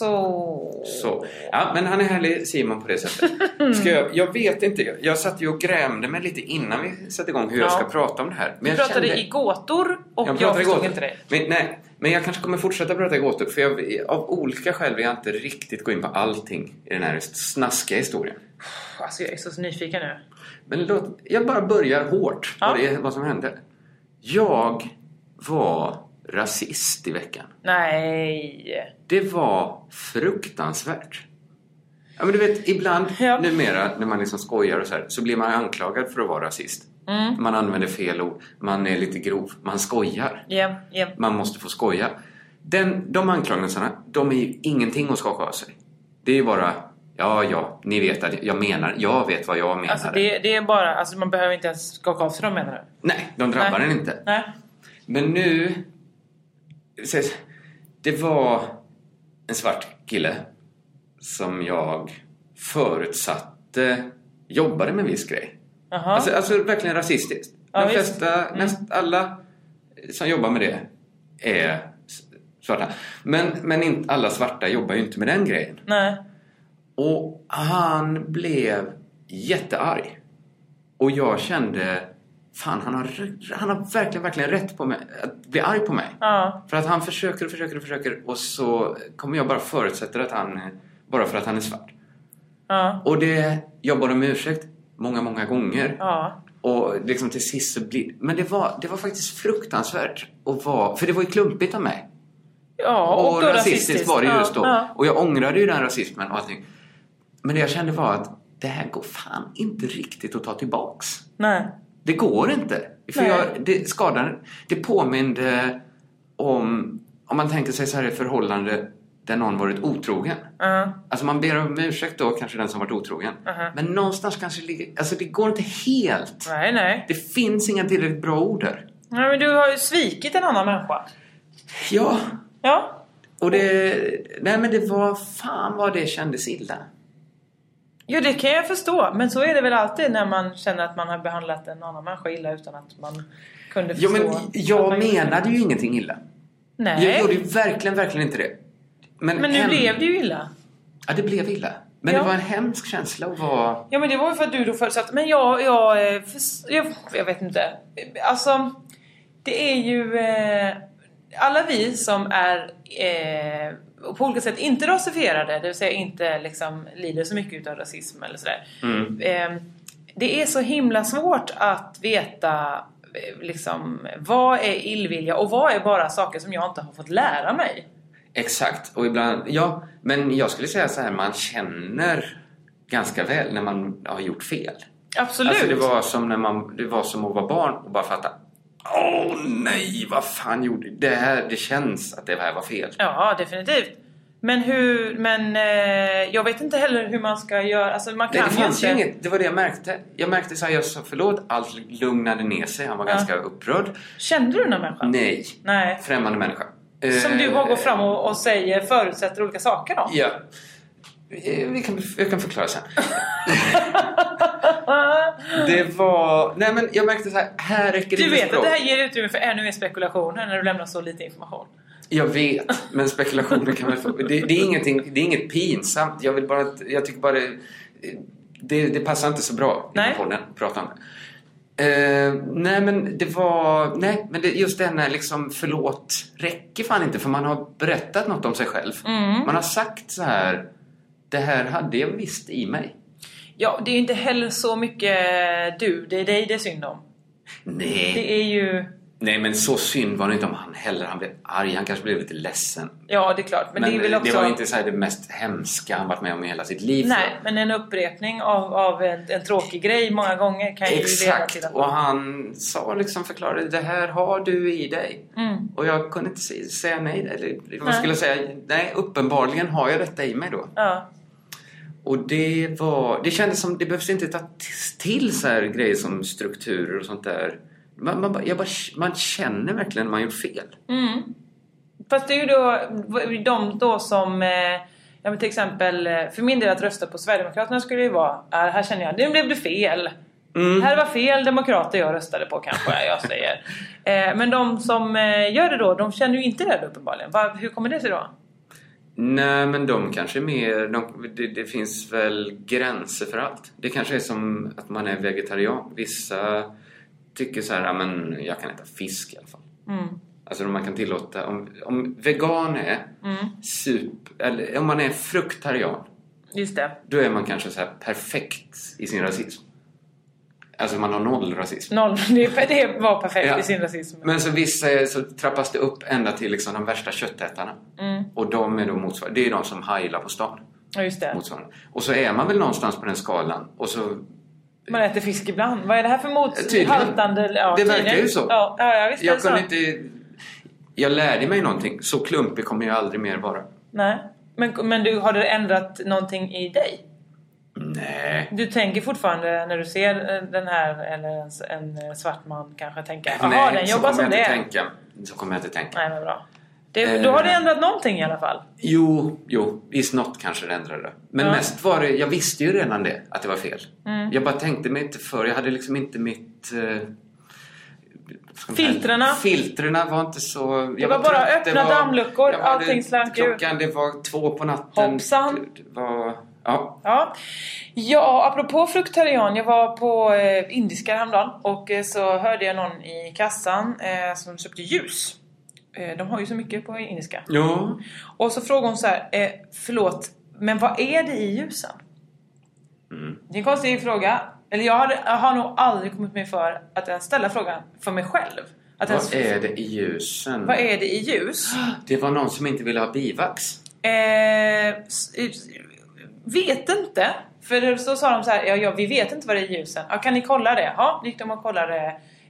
Speaker 2: Så...
Speaker 3: Så. Ja, men han är härlig Simon på det sättet. Ska jag, jag vet inte, jag- jag satt ju och grämde mig lite innan vi satte igång hur
Speaker 2: Ja.
Speaker 3: jag ska prata om det här. Men
Speaker 2: Du
Speaker 3: jag
Speaker 2: pratade
Speaker 3: kände-
Speaker 2: i gåtor och jag,
Speaker 3: pratar i
Speaker 2: förstod
Speaker 3: gåtor.
Speaker 2: inte dig.
Speaker 3: Men, nej, men jag kanske kommer fortsätta prata i gåtor för jag, av olika skäl vill jag inte riktigt gå in på allting i den här snaskiga historien.
Speaker 2: Alltså jag är så nyfiken nu.
Speaker 3: Men låt, jag bara börjar hårt
Speaker 2: Ja.
Speaker 3: vad, det, är- vad som hände. Jag var rasist i veckan.
Speaker 2: Nej.
Speaker 3: Det var fruktansvärt. Ja, men du vet, ibland
Speaker 2: Ja.
Speaker 3: numera när man liksom skojar och så här, så blir man anklagad för att vara rasist.
Speaker 2: Mm.
Speaker 3: Man använder fel ord, man är lite grov, man skojar.
Speaker 2: Ja, ja.
Speaker 3: Man måste få skoja. Den, de anklagelserna, de är ju ingenting att skaka av sig. Det är ju bara, ja, ja, ni vet att jag menar, jag vet vad jag menar.
Speaker 2: Alltså det, det är bara, alltså man behöver inte ens skaka av sig dem menar du?
Speaker 3: Nej, de drabbar
Speaker 2: Nej.
Speaker 3: en inte.
Speaker 2: Nej.
Speaker 3: Men nu... ses- Det var en svart kille som jag förutsatte jobbade med en viss grej.
Speaker 2: Jaha.
Speaker 3: Alltså, alltså verkligen rasistiskt.
Speaker 2: Ja,
Speaker 3: De
Speaker 2: visst. Mm.
Speaker 3: flesta, näst alla som jobbar med det är s- svarta. Men, men inte, alla svarta jobbar ju inte med den grejen.
Speaker 2: Nej.
Speaker 3: Och han blev jättearg. Och jag kände, fan han har, han har verkligen, verkligen rätt på mig, att bli arg på mig.
Speaker 2: Ja.
Speaker 3: För att han försöker och försöker och försöker och så kommer jag bara förutsätter att han, eh, bara för att han är svart.
Speaker 2: Ja.
Speaker 3: Och det, jag bad om ursäkt många, många gånger.
Speaker 2: Ja.
Speaker 3: Och liksom till sist så blir, men det var, det var faktiskt fruktansvärt att vara, för det var ju klumpigt av mig.
Speaker 2: Ja,
Speaker 3: Och,
Speaker 2: och, då
Speaker 3: rasistiskt, var det
Speaker 2: Ja,
Speaker 3: just då.
Speaker 2: Ja.
Speaker 3: Och jag ångrade ju den rasismen och allting. Men det jag kände var att det här går fan inte riktigt att ta tillbaks.
Speaker 2: Nej.
Speaker 3: Det går inte. För
Speaker 2: Nej.
Speaker 3: jag, det skadade, det påminde om, om man tänker sig så här i förhållande där någon varit otrogen.
Speaker 2: Ja.
Speaker 3: Alltså man ber om ursäkt då, kanske den som varit otrogen.
Speaker 2: Mhm.
Speaker 3: Men någonstans kanske ligger, alltså det går inte helt.
Speaker 2: Nej, nej.
Speaker 3: Det finns inga tillräckligt bra ord där.
Speaker 2: Nej, men du har ju svikit en annan människa.
Speaker 3: Ja,
Speaker 2: Ja.
Speaker 3: och det, nej men det var, fan vad det kändes illa.
Speaker 2: Jo, det kan jag förstå. Men så är det väl alltid när man känner att man har behandlat en annan människa illa utan att man kunde förstå.
Speaker 3: Jo, men
Speaker 2: att
Speaker 3: jag
Speaker 2: man gjorde
Speaker 3: menade
Speaker 2: det.
Speaker 3: ju ingenting illa.
Speaker 2: Nej.
Speaker 3: Jag gjorde ju verkligen, verkligen inte det.
Speaker 2: Men nu
Speaker 3: hem-
Speaker 2: blev det ju illa.
Speaker 3: Ja, det blev illa. Men
Speaker 2: Ja.
Speaker 3: det var en hemsk känsla att vara...
Speaker 2: Ja men det var ju för att du då förutsatte, men jag, jag, eh, förs- jag, jag vet inte. Alltså, det är ju eh, alla vi som är eh, på olika sätt inte rasifierade, det vill säga inte liksom lider så mycket utav rasism eller sådär.
Speaker 3: Mm.
Speaker 2: Eh, det är så himla svårt att veta eh, liksom, vad är illvilja och vad är bara saker som jag inte har fått lära mig.
Speaker 3: Exakt. Och ibland... Ja, men jag skulle säga så här, man känner ganska väl när man har gjort fel.
Speaker 2: Absolut!
Speaker 3: Alltså det var som när man... Det var som att vara barn och bara fatta. Åh nej, vad fan gjorde... Det här, det känns att det här var fel.
Speaker 2: Ja, definitivt. Men hur, men eh, jag vet inte heller hur man ska göra, alltså man kan
Speaker 3: Nej, det fanns ju
Speaker 2: inte.
Speaker 3: inget. Det var det jag märkte. Jag märkte så här, jag sa förlåt, allt lugnade ner sig. Han var
Speaker 2: Ja.
Speaker 3: ganska upprörd.
Speaker 2: Kände du den här människan?
Speaker 3: Nej.
Speaker 2: Nej.
Speaker 3: Främmande människa.
Speaker 2: Som
Speaker 3: Eh,
Speaker 2: du bara går fram och, och säger förutsätter olika saker då?
Speaker 3: Ja. Eh, Vi kan, jag kan förklara sen. det var... Nej men jag märkte så här, här räcker det
Speaker 2: Du
Speaker 3: inte
Speaker 2: vet att
Speaker 3: språk.
Speaker 2: det här ger utrymme för ännu mer spekulationer när du lämnar så lite information.
Speaker 3: Jag vet, men spekulationer kan man få... Det, det, är ingenting, det är inget pinsamt. Jag vill bara... att- Jag tycker bara... Det, det, det passar inte så bra i den
Speaker 2: Nej.
Speaker 3: här podden att prata om det. Eh, nej men det var... Nej men det, just den här liksom förlåt räcker fan inte för man har berättat något om sig själv.
Speaker 2: Mm.
Speaker 3: Man har sagt så här... Det här hade jag visst i mig.
Speaker 2: Ja, det är ju inte heller så mycket du, det är dig det är synd om.
Speaker 3: Nej.
Speaker 2: Det är ju,
Speaker 3: Nej men så synd var det inte om han heller. Han blev arg, han kanske blev lite ledsen.
Speaker 2: ja det är klart, men, det är väl också...
Speaker 3: var inte så här eh, det mest hemska han varit med om i hela sitt liv.
Speaker 2: Nej, men en upprepning av, av en, en tråkig grej många gånger kan ju leda till
Speaker 3: Exakt,
Speaker 2: att...
Speaker 3: och han sa liksom förklarade det här har du i dig.
Speaker 2: Mm.
Speaker 3: Och jag kunde inte se- säga nej. Eller, vad
Speaker 2: Nej.
Speaker 3: skulle jag säga? Nej, uppenbarligen har jag detta i mig då.
Speaker 2: Ja.
Speaker 3: Och det var... Det kändes som det behövs inte ta t- till så här grejer som strukturer och sånt där. Man, man, bara- jag bara, man känner verkligen när man gjort fel.
Speaker 2: Mm. Fast det är ju då de då som eh, ja, men till exempel eh, för min del att rösta på Sverigedemokraterna skulle ju vara "Ah, här känner jag nu blev det fel.
Speaker 3: Mm.
Speaker 2: Här var fel demokrater jag röstade på kanske jag säger. Eh, men de som eh, gör det då de känner ju inte det då, uppenbarligen. Va, hur kommer det sig då?
Speaker 3: Nej, men de kanske är mer... De, det, det finns väl gränser för allt. Det kanske är som att man är vegetarian. Vissa tycker så här, "Ja, men jag kan äta fisk i alla fall.
Speaker 2: Mm.
Speaker 3: Alltså om man kan tillåta... Om, om vegan är
Speaker 2: Mm.
Speaker 3: sup... Eller om man är fruktarian,
Speaker 2: Just det.
Speaker 3: då är man kanske så här perfekt i sin rasism. Alltså man har noll rasism.
Speaker 2: Noll, det, det var perfekt
Speaker 3: Ja.
Speaker 2: i sin rasism.
Speaker 3: Men så vissa är, så trappas det upp ända till liksom de värsta köttätarna.
Speaker 2: Mm.
Speaker 3: Och de är då motsvarande. Det är de som heilar på stan.
Speaker 2: Ja, just det.
Speaker 3: motsvarande. Och så är man väl någonstans på den skalan. Och så,
Speaker 2: Man äter fisk ibland. Vad är det här för mot...
Speaker 3: Tydligen.
Speaker 2: haltande... Ja,
Speaker 3: Det verkar
Speaker 2: tydligen.
Speaker 3: ju så.
Speaker 2: Ja, ja, ja visst är det
Speaker 3: jag
Speaker 2: så.
Speaker 3: kunde inte... Jag lärde mig någonting. Så klumpig kommer jag aldrig mer vara.
Speaker 2: Nej. Men, men du, har det ändrat någonting i dig?
Speaker 3: Nej.
Speaker 2: Du tänker fortfarande när du ser eh, den här eller en, s- en eh, svart man kanske tänker jaha
Speaker 3: Nej,
Speaker 2: den
Speaker 3: så
Speaker 2: jobbar
Speaker 3: kommer
Speaker 2: som
Speaker 3: jag
Speaker 2: det
Speaker 3: inte
Speaker 2: är.
Speaker 3: tänka. Så kommer jag inte tänka.
Speaker 2: Nej men bra. Det, då har
Speaker 3: Eh.
Speaker 2: det ändrat någonting i alla fall.
Speaker 3: Jo, jo, visst något kanske det ändrade. Men
Speaker 2: Ja. Mm.
Speaker 3: mest var det, jag visste ju redan det, att det var fel. Jag bara tänkte mig inte för, jag hade liksom inte mitt... Eh, vad ska man säga?
Speaker 2: Filtrerna.
Speaker 3: Filtrerna var inte så... jag
Speaker 2: var bara
Speaker 3: trött, det
Speaker 2: öppna
Speaker 3: var-
Speaker 2: dammluckor,
Speaker 3: jag hade
Speaker 2: allting slank ut.
Speaker 3: Klockan, det var två på natten.
Speaker 2: Hoppsan.
Speaker 3: Det var, ja.
Speaker 2: Ja. ja, apropå fruktarian. Jag var på eh, Indiska häromdagen och eh, så hörde jag någon i kassan eh, som köpte ljus. Eh, de har ju så mycket på Indiska.
Speaker 3: Jo.
Speaker 2: Och så frågade hon så här, eh, förlåt, men vad är det i ljusen?
Speaker 3: Mm.
Speaker 2: Det är en konstig fråga. Eller jag, hade, jag har nog aldrig kommit mig för att ens ställa frågan för mig själv. Att ens,
Speaker 3: Vad är det i ljusen?
Speaker 2: vad är det i ljus?
Speaker 3: Det var någon som inte ville ha bivax.
Speaker 2: Eh, s- s- vet inte. För så sa de så här, ja, ja vi vet inte vad det är i ljusen. Ja, kan ni kolla det? Ja, gick de och kollade.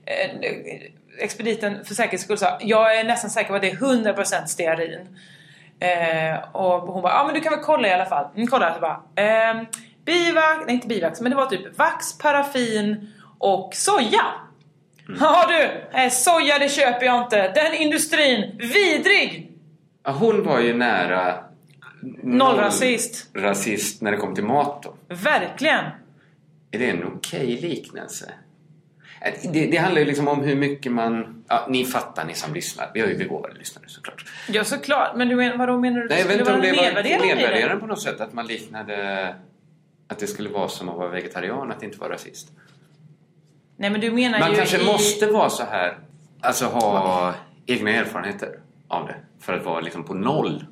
Speaker 2: Eh, expediten för säkerhets skull sa, jag är nästan säker på att det är 100% stearin. Eh, och hon bara, ja men du kan väl kolla i alla fall. Hon kollade och bara, ehm, bivax, nej inte bivax, men det var typ vax, paraffin och soja. Ja du, nej, soja det köper jag inte. Den industrin, vidrig!
Speaker 3: Ja, Hon var ju nära...
Speaker 2: Noll rasist.
Speaker 3: Rasist när det kom till mat då.
Speaker 2: Verkligen!
Speaker 3: Är det en okej liknelse? Eh, Det, det handlar ju liksom om hur mycket man... Ja, ni fattar ni som lyssnar. Vi har ju begåvade lyssnare såklart.
Speaker 2: Ja såklart, men du men, vadå menar du?
Speaker 3: Nej, jag vet
Speaker 2: Skulle
Speaker 3: inte om
Speaker 2: vara
Speaker 3: det var
Speaker 2: nedvärderande i det?
Speaker 3: nedvärderande på något sätt. Att man liknade... Att det skulle vara som att vara vegetarian, att inte vara rasist.
Speaker 2: Nej men du menar
Speaker 3: Man
Speaker 2: ju
Speaker 3: kanske
Speaker 2: i...
Speaker 3: måste vara så här. Alltså ha egna erfarenheter av det. För att vara liksom på noll.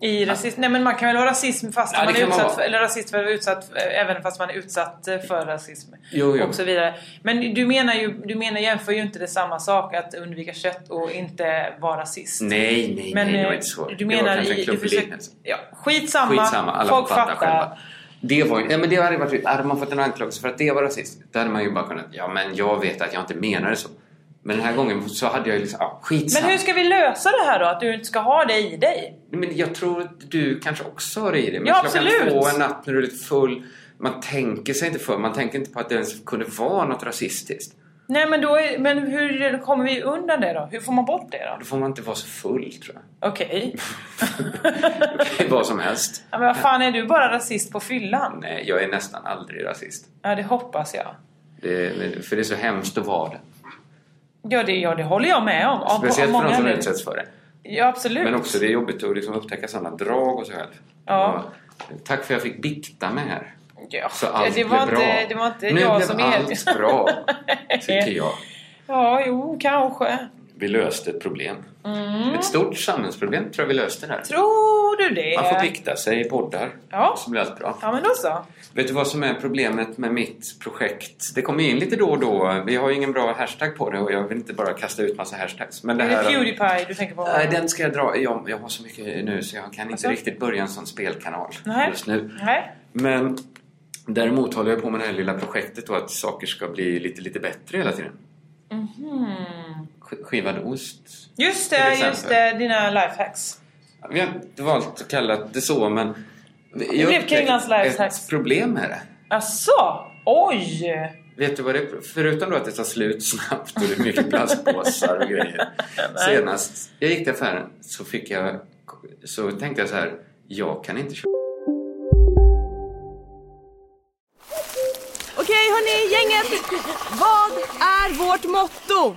Speaker 2: I rasism. Nej men man kan väl vara rasism fast
Speaker 3: Ja, det
Speaker 2: man är
Speaker 3: kan man
Speaker 2: utsatt
Speaker 3: vara.
Speaker 2: för, eller rasist för utsatt, eh, även fast man är utsatt eh, för rasism.
Speaker 3: Jo, jo.
Speaker 2: Och så vidare. Men du menar ju, du menar jämför ju inte det samma sak att undvika kött och inte vara rasist.
Speaker 3: Nej, nej,
Speaker 2: men
Speaker 3: Mm. nej. Det
Speaker 2: eh,
Speaker 3: var inte så.
Speaker 2: du
Speaker 3: det var
Speaker 2: menar
Speaker 3: kanske en
Speaker 2: i... Du
Speaker 3: klumpig
Speaker 2: försöker,
Speaker 3: liknelse.
Speaker 2: ja, skitsamma,
Speaker 3: Skitsamma, alla
Speaker 2: folk
Speaker 3: fattar,
Speaker 2: fattar.
Speaker 3: själva. Det var ju, ja, men det hade, varit, hade man fått en anklagelse för att det var rasist, då hade man ju bara kunnat, ja men jag vet att jag inte menade så. Men den här gången så hade jag ju liksom, ja,
Speaker 2: Men
Speaker 3: skitsamma.
Speaker 2: hur ska vi lösa det här då? Att du inte ska ha det i dig?
Speaker 3: Men, jag tror att du kanske också har i det. Men
Speaker 2: Ja,
Speaker 3: klockan
Speaker 2: absolut.
Speaker 3: två en natt när du är lite full, man tänker sig inte för, man tänker inte på att det ens kunde vara något rasistiskt.
Speaker 2: Nej men då, är, men hur kommer vi undan det då? Hur får man bort det då?
Speaker 3: Då får man inte vara så full tror jag.
Speaker 2: Okej.
Speaker 3: Det är vad som helst.
Speaker 2: ja, men vad fan är du bara rasist på fyllan?
Speaker 3: Nej, jag är nästan aldrig rasist.
Speaker 2: Ja det hoppas jag.
Speaker 3: Det, för det är så hemskt att vara det.
Speaker 2: Ja det, ja, det håller jag med om. Ja, på-
Speaker 3: Speciellt
Speaker 2: många
Speaker 3: för de som
Speaker 2: anledningar.
Speaker 3: utsätts för det.
Speaker 2: Ja absolut.
Speaker 3: Men också det är jobbigt att liksom upptäcka sådana drag och så själv.
Speaker 2: Ja.
Speaker 3: Och Tack för att jag fick bikta mig här.
Speaker 2: Ja,
Speaker 3: Så allt
Speaker 2: det, var
Speaker 3: blev bra.
Speaker 2: inte, det var inte
Speaker 3: nu
Speaker 2: jag
Speaker 3: blev
Speaker 2: som
Speaker 3: allt
Speaker 2: är...
Speaker 3: bra, tycker jag.
Speaker 2: Ja, jo kanske.
Speaker 3: Vi löste ett problem.
Speaker 2: Mm.
Speaker 3: Ett stort samhällsproblem tror jag vi löste där.
Speaker 2: Tror du det?
Speaker 3: Man får bikta sig i poddar,
Speaker 2: Ja.
Speaker 3: så blir allt bra.
Speaker 2: Ja men då så.
Speaker 3: Vet du vad som är problemet med mitt projekt? Det kommer in lite då och då. Vi har ju ingen bra hashtag på det och jag vill inte bara kasta ut massa hashtags. Men det
Speaker 2: är
Speaker 3: här...
Speaker 2: det Pewdiepie du tänker på?
Speaker 3: Nej, den ska jag dra. Jag, jag har så mycket nu så jag kan inte
Speaker 2: Alltså?
Speaker 3: riktigt börja en sån spelkanal
Speaker 2: Nej.
Speaker 3: just nu.
Speaker 2: Nej.
Speaker 3: Men däremot håller jag på med det här lilla projektet då att saker ska bli lite, lite bättre hela tiden.
Speaker 2: Mhm.
Speaker 3: Sk- Skivad ost.
Speaker 2: Just
Speaker 3: Till
Speaker 2: det,
Speaker 3: exempel.
Speaker 2: just det. Dina lifehacks.
Speaker 3: Vi har inte valt att kalla det så men... Jag
Speaker 2: blev Kringlands
Speaker 3: upptäckte
Speaker 2: lifehacks.
Speaker 3: ett problem med det.
Speaker 2: Asså? Oj!
Speaker 3: Vet du vad det är? Förutom då att det tar slut snabbt och det är mycket plastpåsar och grejer.
Speaker 2: Nej.
Speaker 3: Senast jag gick till affären så fick jag... Så tänkte jag så här. Jag kan inte köpa...
Speaker 4: Okej hörni, gänget! Vad är vårt motto?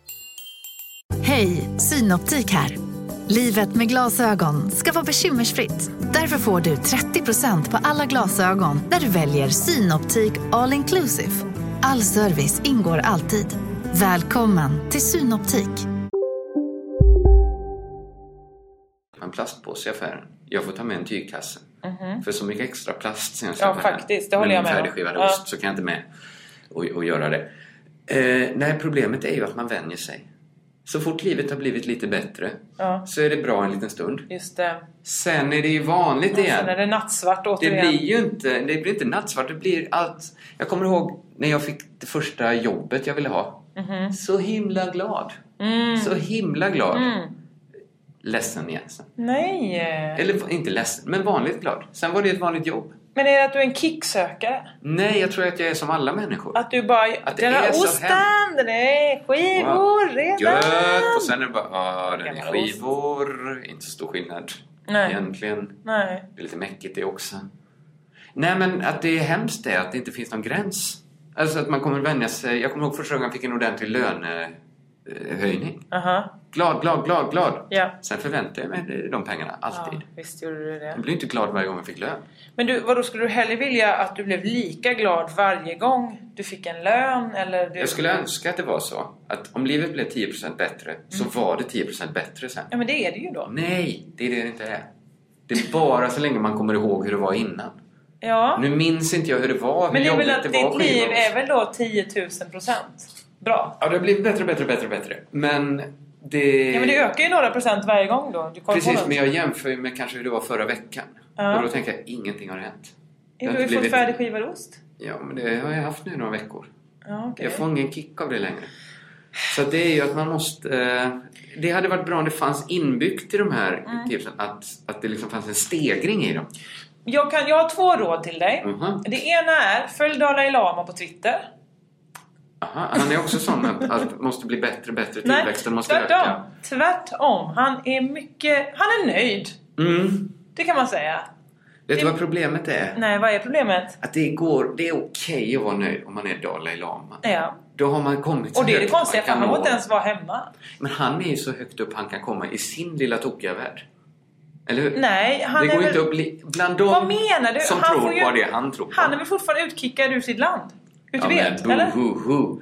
Speaker 5: Hej, Synoptik här. Livet med glasögon ska vara bekymmersfritt. Därför får du 30% på alla glasögon när du väljer Synoptik All Inclusive. All service ingår alltid. Välkommen till Synoptik.
Speaker 3: en plastpåse i affären. Jag får ta med en tygkasse. För så mycket extra plast sen
Speaker 2: Mhm. Ja, faktiskt. Det håller jag med om.
Speaker 3: färdigskivad
Speaker 2: Ja.
Speaker 3: ost så kan jag inte med och, och göra det. Eh, nej, problemet är ju att man vänjer sig. Så fort livet har blivit lite bättre
Speaker 2: Ja.
Speaker 3: så är det bra en liten stund.
Speaker 2: Just det.
Speaker 3: Sen är det ju vanligt igen.
Speaker 2: Sen är det nattsvart
Speaker 3: Det
Speaker 2: återigen.
Speaker 3: blir ju inte, det blir inte nattsvart, det blir allt. Jag kommer ihåg när jag fick det första jobbet jag ville ha.
Speaker 2: Mhm.
Speaker 3: Så himla glad.
Speaker 2: Mm.
Speaker 3: Så himla glad. Ledsen igen sen.
Speaker 2: Nej!
Speaker 3: Eller inte ledsen, men vanligt glad. Sen var det ett vanligt jobb.
Speaker 2: Men är det att du är en kicksökare?
Speaker 3: Nej, jag tror att jag är som alla människor.
Speaker 2: Att du bara...
Speaker 3: Att det
Speaker 2: den här
Speaker 3: är så
Speaker 2: osten, den är skivor redan!
Speaker 3: Gött! Och sen är det bara, ah, den är
Speaker 2: Gammal ost.
Speaker 3: skivor. Inte så stor skillnad
Speaker 2: Nej.
Speaker 3: egentligen.
Speaker 2: Nej.
Speaker 3: Det är lite mäckigt det också. Nej men att det är hemskt det, att det inte finns någon gräns. Alltså att man kommer vänja sig. Jag kommer ihåg första gången jag fick en ordentlig lönehöjning.
Speaker 2: Aha.
Speaker 3: Glad, glad, glad, glad.
Speaker 2: Ja.
Speaker 3: Sen förväntade jag mig de pengarna, alltid.
Speaker 2: ja. Visst gjorde du det.
Speaker 3: Jag blev inte glad varje gång jag fick lön.
Speaker 2: Men du, vadå, skulle du hellre vilja att du blev lika glad varje gång du fick en lön? Eller du...
Speaker 3: Jag skulle önska att det var så. Att om livet blev 10% bättre, så
Speaker 2: Mm.
Speaker 3: var det 10% bättre sen.
Speaker 2: Ja men det är det ju
Speaker 3: Mm.
Speaker 2: då.
Speaker 3: Nej, det är det det inte är. Det är bara så länge man kommer ihåg hur det var innan.
Speaker 2: Ja.
Speaker 3: Nu minns inte jag hur det var, hur
Speaker 2: men det är väl
Speaker 3: jobbigt
Speaker 2: att
Speaker 3: det var.
Speaker 2: ditt liv
Speaker 3: skivor.
Speaker 2: är väl då 10 000 procent? Bra.
Speaker 3: Ja, det har blivit bättre, bättre, bättre, bättre. Men det...
Speaker 2: Ja men det ökar ju några procent varje gång då. Du kommer på
Speaker 3: Eh. Precis,
Speaker 2: något.
Speaker 3: men jag jämför ju med kanske hur det var förra veckan.
Speaker 2: Ja.
Speaker 3: Och då tänker jag, ingenting har hänt. Det
Speaker 2: Är
Speaker 3: har
Speaker 2: du
Speaker 3: inte
Speaker 2: fått
Speaker 3: blivit-
Speaker 2: färdigskivad ost?
Speaker 3: Ja, men det har jag haft nu några veckor.
Speaker 2: Ja, okej.
Speaker 3: Jag får ingen kick av det längre. Så det är ju att man måste... Eh, det hade varit bra om det fanns inbyggt i de här
Speaker 2: Mm.
Speaker 3: tipsen att, att det liksom fanns en stegring i dem.
Speaker 2: Jag, kan, jag har två råd till dig.
Speaker 3: Mhm.
Speaker 2: Det ena är, följ Dalai Lama på Twitter.
Speaker 3: Aha, han är också sån att allt måste bli bättre, bättre. Tillväxten måste
Speaker 2: tvärtom.
Speaker 3: öka.
Speaker 2: Tvärtom. Han är mycket... Han är nöjd.
Speaker 3: Mm.
Speaker 2: Det kan man säga.
Speaker 3: Vet du vad problemet är?
Speaker 2: Nej, vad är problemet?
Speaker 3: Att det, går, det är okej att vara nöjd om man är Dalai Lama.
Speaker 2: Ja.
Speaker 3: Då har man kommit så
Speaker 2: Och det är det
Speaker 3: högt man
Speaker 2: konstiga, för
Speaker 3: kan
Speaker 2: han får
Speaker 3: nå.
Speaker 2: inte ens vara hemma.
Speaker 3: Men han är ju så högt upp han kan komma i sin lilla tokiga värld. Eller hur?
Speaker 2: Nej, han
Speaker 3: det
Speaker 2: är
Speaker 3: går
Speaker 2: väl-
Speaker 3: inte att bli... Bland dem
Speaker 2: Vad menar du?
Speaker 3: som
Speaker 2: Han
Speaker 3: tror
Speaker 2: får ju-
Speaker 3: på det han tror på.
Speaker 2: Han är väl fortfarande utkickad ur sitt land? Ut
Speaker 3: Ja,
Speaker 2: ja, vet,
Speaker 3: men
Speaker 2: eller?
Speaker 3: bohoho.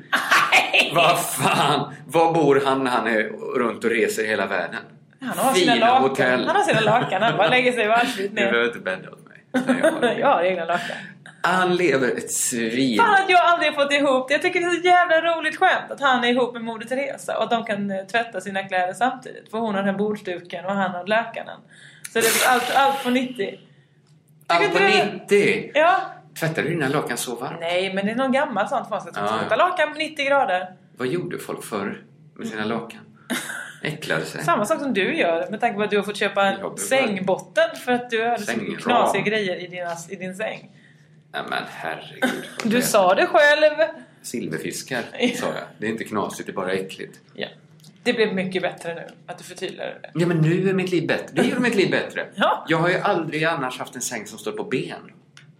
Speaker 3: Vad fan! Var bor han när han är runt och reser i hela världen?
Speaker 2: Han har
Speaker 3: Fina
Speaker 2: sina lakan.
Speaker 3: hotell.
Speaker 2: Han har sina lakan. Han bara lägger sig valsligt
Speaker 3: Du behöver
Speaker 2: ner.
Speaker 3: inte bända åt mig. utan jag har det.
Speaker 2: Jag har egna lakan.
Speaker 3: Han lever ett svin.
Speaker 2: Fan att jag aldrig fått ihop det. Jag tycker det är så jävla roligt skämt att han är ihop med Moder Teresa och att de kan eh, tvätta sina kläder samtidigt. För hon har den bordsduken och han har lakanen. Så det är allt, allt på 90.
Speaker 3: Allt på
Speaker 2: tycker inte du-
Speaker 3: 90!
Speaker 2: Ja.
Speaker 3: Tvättar du dina lakan så varmt?
Speaker 2: Nej, men det är någon gammal sånt man ska
Speaker 3: Ja, ja.
Speaker 2: tvätta lakan på 90 grader.
Speaker 3: Vad gjorde folk förr med sina lakan? Äcklade sig?
Speaker 2: Samma sak som du gör med tanke på att du har fått köpa
Speaker 3: Jag behöver-
Speaker 2: en sängbotten för att du hade så
Speaker 3: Sängram.
Speaker 2: mycket knasiga grejer i, dina, i din säng.
Speaker 3: Nej men herregud.
Speaker 2: Du sa det själv!
Speaker 3: Silverfiskar, sa jag. Det är inte knasigt, det är bara äckligt.
Speaker 2: Ja. Det blev mycket bättre nu att du förtydligade det.
Speaker 3: Ja men nu är mitt liv bättre. Det gör mitt liv bättre.
Speaker 2: Ja.
Speaker 3: Jag har ju aldrig annars haft en säng som står på ben.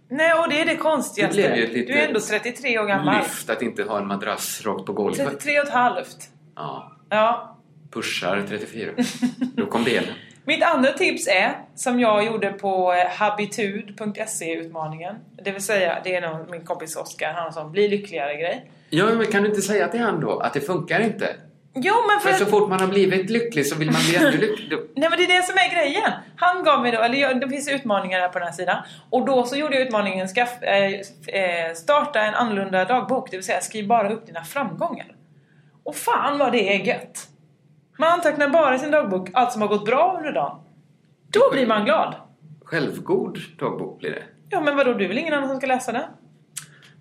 Speaker 2: Nej, och det är det konstigaste.
Speaker 3: Det blev ju ett litet
Speaker 2: Du är ändå 33 år gammal.
Speaker 3: Lyft att inte ha en madrass rakt på golvet.
Speaker 2: 33 och ett halvt.
Speaker 3: Ja.
Speaker 2: Ja.
Speaker 3: Pushar 34. Då kom benen.
Speaker 2: Mitt andra tips är, som jag gjorde på eh, habitud.se-utmaningen. Det vill säga, det är någon, min kompis Oskar, han som blir lyckligare-grej.
Speaker 3: Ja men kan du inte säga till han då att det funkar inte?
Speaker 2: Jo, men för
Speaker 3: För så
Speaker 2: att,
Speaker 3: fort man har blivit lycklig så vill man bli ännu lyckligare.
Speaker 2: Nej men det är det som är grejen. Han gav mig då, eller jag, det finns utmaningar här på den här sidan. Och då så gjorde jag utmaningen skaff, eh, eh, starta en annorlunda dagbok. Det vill säga skriv bara upp dina framgångar. Och fan vad det är gött. Man antecknar bara i sin dagbok allt som har gått bra under dagen. Då blir man glad.
Speaker 3: Självgod dagbok blir det.
Speaker 2: Ja men vadå, du är väl ingen annan som ska läsa den?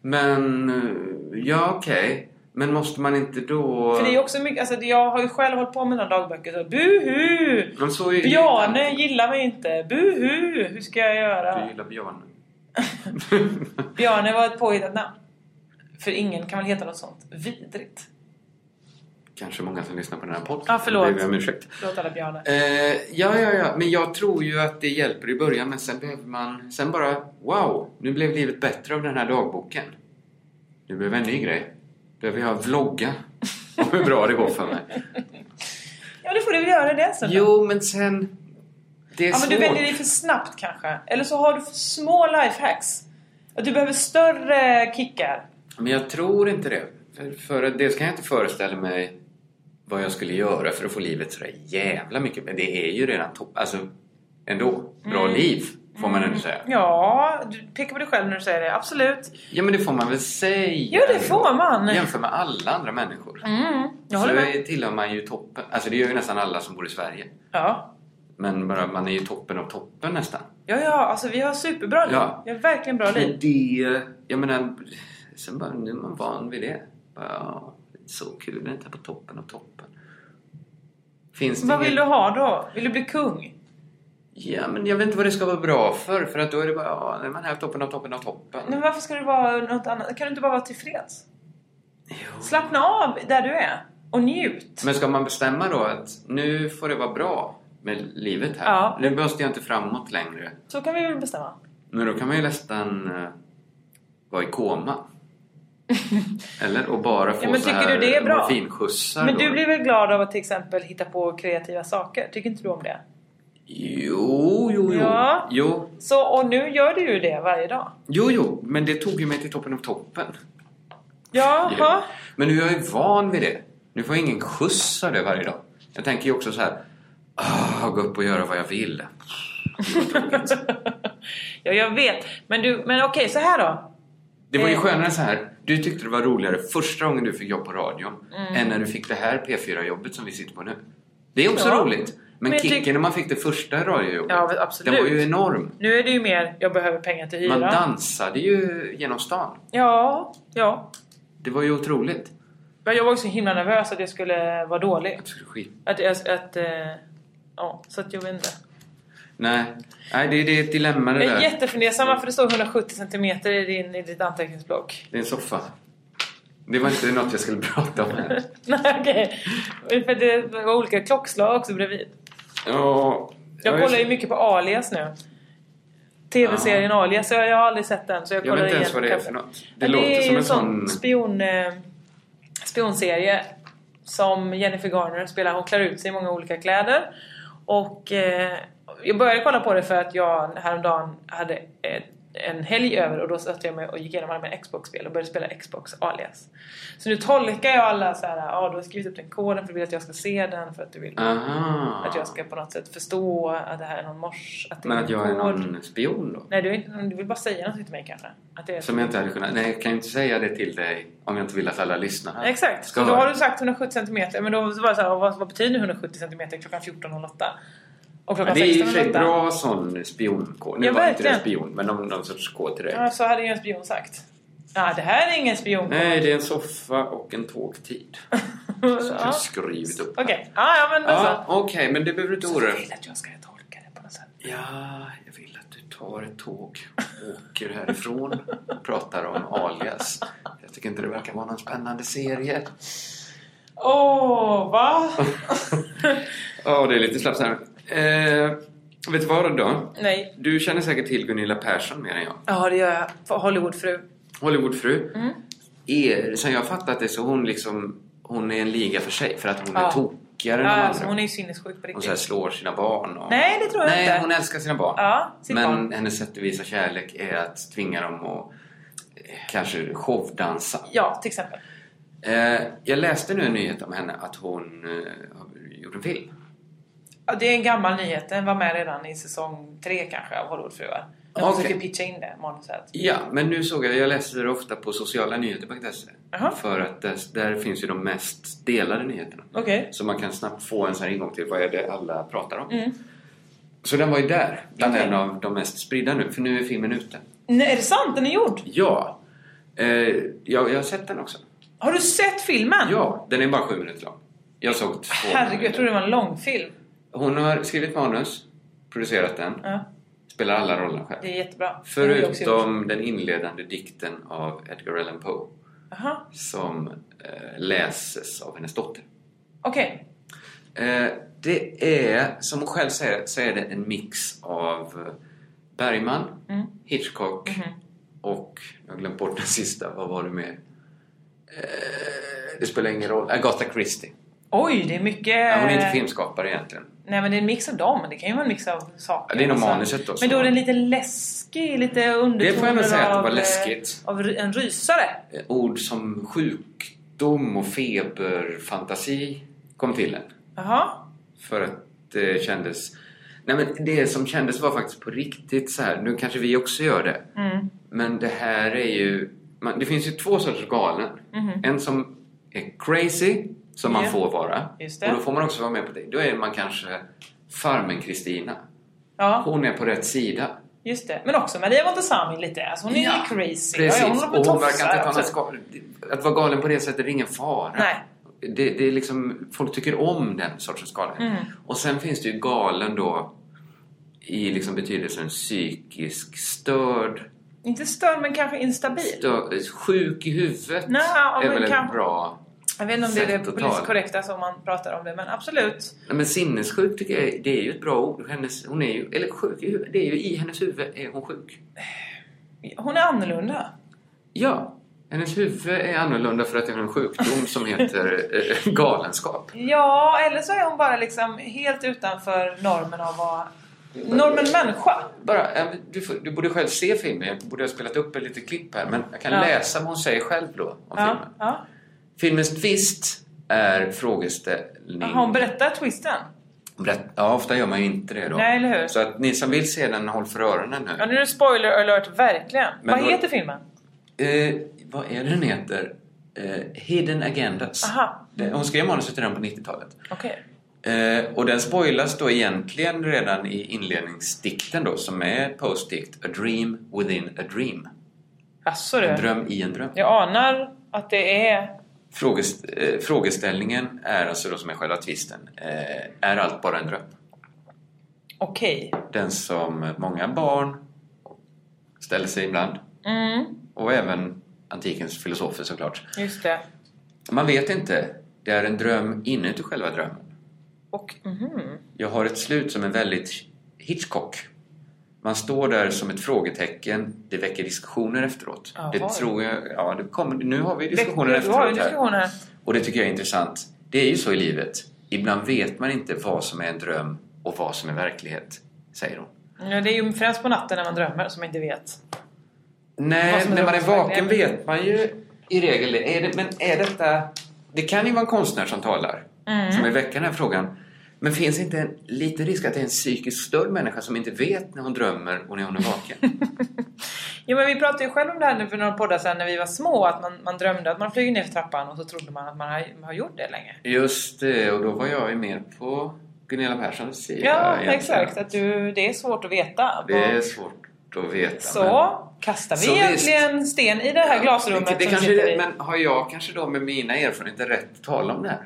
Speaker 3: Men, eh, ja okej. Men måste man inte då...
Speaker 2: För det är ju också mycket, alltså det- jag har ju själv hållit på med några dagböcker så buhu!
Speaker 3: Men så är det ju-
Speaker 2: Bjarne gillar mig inte, buhu! Hur ska jag göra?
Speaker 3: Du gillar Björn.
Speaker 2: Bjarne var ett påhittat namn. För ingen kan väl heta något sånt vidrigt.
Speaker 3: Kanske många som lyssnar på den här podden.
Speaker 2: Ja, förlåt.
Speaker 3: Det ber jag om ursäkt.
Speaker 2: Förlåt alla Bjarne.
Speaker 3: Eh, ja, ja, ja. Men jag tror ju att det hjälper i början. Men sen behöver man... Sen bara... Wow! Nu blev livet bättre av den här dagboken. Nu behöver jag en ny grej. Behöver jag vlogga. Om hur bra det går för mig.
Speaker 2: Ja, Ja, då får du väl göra det sen. då.
Speaker 3: Jo, men sen... Det är
Speaker 2: Ja, men
Speaker 3: svårt.
Speaker 2: du väljer dig för snabbt kanske. Eller så har du för små lifehacks. Och du behöver större kickar.
Speaker 3: Men jag tror inte det. För, för att dels kan jag inte föreställa mig vad jag skulle göra för att få livet så där jävla mycket. Men det är ju redan topp. Alltså, ändå. Bra
Speaker 2: Mm.
Speaker 3: liv, får man ändå säga.
Speaker 2: Ja, du pekar på dig själv när du säger det. Absolut.
Speaker 3: Ja, men det får man väl säga.
Speaker 2: Ja, det får man. Mm.
Speaker 3: Jämför med alla andra människor.
Speaker 2: Jag
Speaker 3: så
Speaker 2: håller med.
Speaker 3: är- tillhör man ju toppen. Alltså det gör ju nästan alla som bor i Sverige.
Speaker 2: Ja.
Speaker 3: Men bara, man är ju toppen av toppen nästan.
Speaker 2: Ja, ja, alltså vi har superbra liv.
Speaker 3: Ja.
Speaker 2: Vi har verkligen bra liv.
Speaker 3: Men det... Jag menar... Sen bara, nu är man van vid det. Bara, ja, det är så kul att inte på toppen av toppen. Finns det
Speaker 2: Vad
Speaker 3: inget-
Speaker 2: vill du ha då? Vill du bli kung?
Speaker 3: Ja, men jag vet inte vad det ska vara bra för. För att då är det bara, ja, nu är man här på toppen av toppen av toppen.
Speaker 2: Men varför ska du vara något annat? Kan du inte bara vara tillfreds?
Speaker 3: Jo.
Speaker 2: Slappna av där du är och njut.
Speaker 3: Men ska man bestämma då att nu får det vara bra med livet här.
Speaker 2: Ja.
Speaker 3: Nu måste jag inte framåt längre.
Speaker 2: Så kan vi väl bestämma.
Speaker 3: Men då kan man ju nästan eh, vara i koma. Eller? Och bara få
Speaker 2: Ja, men
Speaker 3: så
Speaker 2: tycker
Speaker 3: här
Speaker 2: du det är bra?
Speaker 3: morfinskjutsar
Speaker 2: Men
Speaker 3: då.
Speaker 2: du blir väl glad av att till exempel hitta på kreativa saker? Tycker inte du om det?
Speaker 3: Jo, jo, jo.
Speaker 2: Ja.
Speaker 3: Jo,
Speaker 2: Så, och nu gör du ju det varje dag.
Speaker 3: jo, jo. Men det tog ju mig till toppen av toppen.
Speaker 2: Jaha.
Speaker 3: Men nu är jag ju van vid det. Nu får jag ingen skjuts av det varje dag. Jag tänker ju också så här... Ah, gå upp och göra vad jag vill.
Speaker 2: ja, jag vet. Men, du, men okej, så här då.
Speaker 3: Det var ju
Speaker 2: Eh.
Speaker 3: skönare så här. Du tyckte det var roligare första gången du fick jobb på radion
Speaker 2: Mm.
Speaker 3: än när du fick det här P4-jobbet som vi sitter på nu. Det är också
Speaker 2: Ja.
Speaker 3: roligt. Men,
Speaker 2: Men jag tyck-
Speaker 3: kicken när man fick det första radiojobbet,
Speaker 2: Ja, men absolut.
Speaker 3: den var ju enorm.
Speaker 2: Nu är det ju mer, jag behöver pengar till
Speaker 3: Man
Speaker 2: hyran.
Speaker 3: dansade ju genom stan.
Speaker 2: Ja, ja.
Speaker 3: Det var ju otroligt.
Speaker 2: Men jag var också himla nervös att jag skulle vara dålig.
Speaker 3: Jag tycker det är skit.
Speaker 2: Att, att, att eh, ja, så att jag vet inte.
Speaker 3: Nej, Nej det, det är ett dilemma det
Speaker 2: Jag är
Speaker 3: där.
Speaker 2: jättefundersam varför det står 170 cm i, din, i ditt anteckningsblock.
Speaker 3: Det är en soffa. Det var inte något jag skulle prata om här.
Speaker 2: Nej, okej. För det var olika klockslag också bredvid.
Speaker 3: Ja,
Speaker 2: Jag
Speaker 3: ja,
Speaker 2: kollar ju mycket på Alias nu. TV-serien Alias, jag, jag har aldrig sett den så jag
Speaker 3: Jag
Speaker 2: kollar
Speaker 3: vet inte ens
Speaker 2: igen
Speaker 3: vad det är
Speaker 2: kanske.
Speaker 3: för något. Det
Speaker 2: Det,
Speaker 3: låter
Speaker 2: är
Speaker 3: som
Speaker 2: ju
Speaker 3: en sån...
Speaker 2: spion, eh, spionserie som Jennifer Garner spelar. Hon klär ut sig i många olika kläder. Och eh, jag började kolla på det för att jag häromdagen hade eh, en helg över och då satte jag mig och gick igenom alla mina Xbox-spel och började spela Xbox alias. Så nu tolkar jag alla så här, ja du har skrivit upp den koden för du vill att jag ska se den för att du vill
Speaker 3: Aha.
Speaker 2: att jag ska på något sätt förstå att det här är någon mors... Att det
Speaker 3: Men att jag är
Speaker 2: en kod.
Speaker 3: någon spion då?
Speaker 2: Nej, du, är inte- du vill bara säga något till mig kanske. Att det är
Speaker 3: Som jag inte hade kunnat... Nej, jag kan ju inte säga det till dig om jag inte vill att alla lyssnar.
Speaker 2: Exakt,
Speaker 3: Ska
Speaker 2: så då
Speaker 3: höra.
Speaker 2: har du sagt 170 centimeter men då var det så här, vad, vad betyder 170 centimeter klockan 14.08? Och
Speaker 3: Ja,
Speaker 2: klockan
Speaker 3: det är i och för sig
Speaker 2: 16.08?
Speaker 3: bra sån spionkod. Nu
Speaker 2: Ja,
Speaker 3: var inte det en
Speaker 2: verkligen.
Speaker 3: spion, men någon, någon sorts kod till dig.
Speaker 2: Ja, så hade ju en spion sagt. Ja, det här är ingen spion.
Speaker 3: Nej, det är en soffa och en tågtid. Som jag
Speaker 2: ja.
Speaker 3: har skrivit upp.
Speaker 2: Okej, Alltså- ja, ja men då
Speaker 3: Ja,
Speaker 2: så.
Speaker 3: Okej, men det behöver du inte
Speaker 2: Så
Speaker 3: oroa
Speaker 2: du
Speaker 3: dig
Speaker 2: vill att jag ska tolka det på något sätt?
Speaker 3: Ja, jag vill att du tar ett tåg och åker härifrån och pratar om Alias. Jag tycker inte det verkar vara någon spännande serie.
Speaker 2: Åh, va?
Speaker 3: Ja, det är lite slappt här. Eh, vet du vad då?
Speaker 2: Nej.
Speaker 3: Du känner säkert till Gunilla Persson mer än jag.
Speaker 2: Ja, det gör jag. För Hollywoodfru.
Speaker 3: Hollywoodfru.
Speaker 2: Mm.
Speaker 3: Er, sen jag har fattat det så hon liksom... Hon är en liga för sig för att hon är
Speaker 2: Ja.
Speaker 3: tokigare än
Speaker 2: Ja,
Speaker 3: de
Speaker 2: alltså,
Speaker 3: andra.
Speaker 2: hon
Speaker 3: Hon,
Speaker 2: är ju sinnessjuk på riktigt.
Speaker 3: så här slår sina barn. Och...
Speaker 2: Nej, det tror jag
Speaker 3: Nej,
Speaker 2: inte.
Speaker 3: hon älskar sina barn.
Speaker 2: Ja, sitt
Speaker 3: Men
Speaker 2: barn.
Speaker 3: hennes sätt att visa kärlek är att tvinga dem att eh, kanske showdansa.
Speaker 2: Ja, till exempel.
Speaker 3: Eh, jag läste nu en nyhet om henne att hon eh, har gjort en film.
Speaker 2: Ja, det är en gammal nyhet. Den var med redan i säsong tre kanske av Hollywoodfruar. De
Speaker 3: Okej.
Speaker 2: försöker pitcha in det manuset.
Speaker 3: Ja, men nu såg jag, jag läser det ofta på sociala nyheter.se.
Speaker 2: Jaha.
Speaker 3: För att där, där finns ju de mest delade nyheterna.
Speaker 2: Okej. Mm.
Speaker 3: Så man kan snabbt få en sån här ingång till vad är det alla pratar om. Så den var ju där, bland
Speaker 2: Okej.
Speaker 3: en av de mest spridda nu, för nu är filmen ute.
Speaker 2: Nej, är det sant? Den är gjord?
Speaker 3: Ja, eh, jag, jag har sett den också.
Speaker 2: Har du sett filmen?
Speaker 3: Ja, den är bara sju minuter lång. Jag såg två
Speaker 2: Herregud, jag trodde det var en långfilm.
Speaker 3: Hon har skrivit manus, producerat den,
Speaker 2: Ja,
Speaker 3: spelar alla rollerna själv.
Speaker 2: det är jättebra. Det är också gjort.
Speaker 3: Förutom den inledande dikten av Edgar Allan Poe
Speaker 2: Jaha,
Speaker 3: som eh, läses av hennes dotter.
Speaker 2: okej.
Speaker 3: Eh, det är, som hon själv säger, så är det en mix av eh, Bergman,
Speaker 2: Mm.
Speaker 3: Hitchcock
Speaker 2: Mm-hmm.
Speaker 3: och... Jag har glömt bort den sista, vad var det mer? Eh, det spelar ingen roll. Agatha Christie.
Speaker 2: Oj, det är mycket...
Speaker 3: Ja, hon är
Speaker 2: Eh.
Speaker 3: inte filmskapare egentligen.
Speaker 2: Nej men det är en mix av dem. Det kan ju vara en mix av saker.
Speaker 3: Ja, det är nog
Speaker 2: Alltså.
Speaker 3: manuset då,
Speaker 2: Men
Speaker 3: som-
Speaker 2: då är den lite läskig, lite undertoner
Speaker 3: Det får jag nog säga att det
Speaker 2: av,
Speaker 3: var
Speaker 2: eh,
Speaker 3: läskigt.
Speaker 2: Av ry- en rysare.
Speaker 3: Eh, Ord som sjukdom och feberfantasi kom till en.
Speaker 2: Jaha.
Speaker 3: För att det kändes... Nej men det som kändes var faktiskt på riktigt så här. Nu kanske vi också gör det.
Speaker 2: Mm.
Speaker 3: Men det här är ju... Man, det finns ju två sorters galen. En som är crazy, som man
Speaker 2: Mhm. Ja.
Speaker 3: får vara.
Speaker 2: Just det.
Speaker 3: Och då får man också vara med på det. Då är man kanske Farmen-Kristina.
Speaker 2: Ja,
Speaker 3: Hon är på rätt sida.
Speaker 2: just det. Men också Maria Montazami lite. Alltså hon är
Speaker 3: Ja,
Speaker 2: ju crazy.
Speaker 3: Precis.
Speaker 2: Ja, ja, håller på Alltså-
Speaker 3: och hon
Speaker 2: med
Speaker 3: verkar inte ha
Speaker 2: tofsar,
Speaker 3: något ska... Att vara galen på det sättet är ingen fara.
Speaker 2: Nej.
Speaker 3: Det, det är liksom, folk tycker om den sortens galen.
Speaker 2: Mm.
Speaker 3: Och sen finns det ju galen då i liksom betydelsen psykisk störd,
Speaker 2: Inte störd men kanske instabil.
Speaker 3: stö- sjuk i huvudet.
Speaker 2: Nej, ja,
Speaker 3: är
Speaker 2: men
Speaker 3: väl ett
Speaker 2: kanske-
Speaker 3: bra...
Speaker 2: Jag vet inte om det är
Speaker 3: Sätt
Speaker 2: det
Speaker 3: att ta det.
Speaker 2: politiskt korrekta som man pratar om det men absolut.
Speaker 3: Nej, men sinnessjuk tycker jag det är ju ett bra ord. Hennes, hon är ju, eller sjuk i huvudet, det är ju i hennes huvud är hon sjuk.
Speaker 2: Hon är annorlunda.
Speaker 3: Ja, hennes huvud är annorlunda för att det är en sjukdom som heter eh, galenskap.
Speaker 2: Ja, eller så är hon bara liksom helt utanför normen av vad... Normen människa.
Speaker 3: Bara, eh, du, får, du borde själv se filmen, jag borde ha spelat upp ett litet klipp här men jag kan
Speaker 2: Ja.
Speaker 3: läsa vad hon säger själv då om
Speaker 2: Ja,
Speaker 3: filmen.
Speaker 2: ja.
Speaker 3: Filmens twist är frågeställning...
Speaker 2: Har hon berättat twisten?
Speaker 3: Berätt... Ja, ofta gör man ju inte det då.
Speaker 2: Nej, eller hur?
Speaker 3: Så att ni som vill se den, håll för öronen nu.
Speaker 2: Ja, nu är det spoiler alert, verkligen.
Speaker 3: Men
Speaker 2: Vad
Speaker 3: då-
Speaker 2: heter filmen?
Speaker 3: Eh, vad är det den heter? Eh, Hidden Agendas.
Speaker 2: Aha.
Speaker 3: Det- Hon skrev manuset redan på 90-talet.
Speaker 2: Okej.
Speaker 3: Eh, och den spoilas då egentligen redan i inledningsdikten då, som är postdikt A Dream Within A Dream.
Speaker 2: Jaså
Speaker 3: En
Speaker 2: du.
Speaker 3: dröm i en dröm.
Speaker 2: Jag anar att det är...
Speaker 3: Frågest, eh, frågeställningen är alltså då som är själva twisten. Eh, är allt bara en dröm?
Speaker 2: Okej.
Speaker 3: den som många barn ställer sig ibland.
Speaker 2: Mm,
Speaker 3: Och även antikens filosofer såklart.
Speaker 2: just det.
Speaker 3: Man vet inte. Det är en dröm inuti själva drömmen.
Speaker 2: Och... mhm.
Speaker 3: Jag har ett slut som är väldigt Hitchcock. Man står där som ett frågetecken. Det väcker diskussioner efteråt.
Speaker 2: Jaha.
Speaker 3: Det tror jag... Ja, det kommer, nu har vi diskussioner
Speaker 2: Det- Du har ju
Speaker 3: efteråt här.
Speaker 2: diskussioner här.
Speaker 3: Och det tycker jag är intressant. Det är ju så i livet. Ibland vet man inte vad som är en dröm och vad som är verklighet, säger hon.
Speaker 2: Ja, det är ju främst på natten när man drömmer som man inte vet. Vad
Speaker 3: Nej,
Speaker 2: som är
Speaker 3: när man är
Speaker 2: rumsverkligen.
Speaker 3: vaken vet man ju i regel det. Är det. Men är detta... Det kan ju vara en konstnär som talar,
Speaker 2: Mm.
Speaker 3: som vill väcka den här frågan. Men finns inte en liten risk att det är en psykiskt störd människa som inte vet när hon drömmer och när hon är vaken?
Speaker 2: Jo men vi pratade ju själv om det här nu för några poddar sedan när vi var små att man, man drömde att man flyger ner för trappan och så trodde man att man har, har gjort det länge.
Speaker 3: Just det, och då var jag ju mer på Gunilla Perssons sida.
Speaker 2: Ja,
Speaker 3: egentligen.
Speaker 2: exakt. Att du, det är svårt att veta.
Speaker 3: Det är svårt att veta.
Speaker 2: så kastar vi
Speaker 3: Så
Speaker 2: egentligen sten i det här
Speaker 3: Ja,
Speaker 2: glasrummet
Speaker 3: det, det
Speaker 2: som
Speaker 3: kanske,
Speaker 2: sitter
Speaker 3: är
Speaker 2: i.
Speaker 3: det, Men har jag kanske då med mina erfarenheter rätt att tala om det här?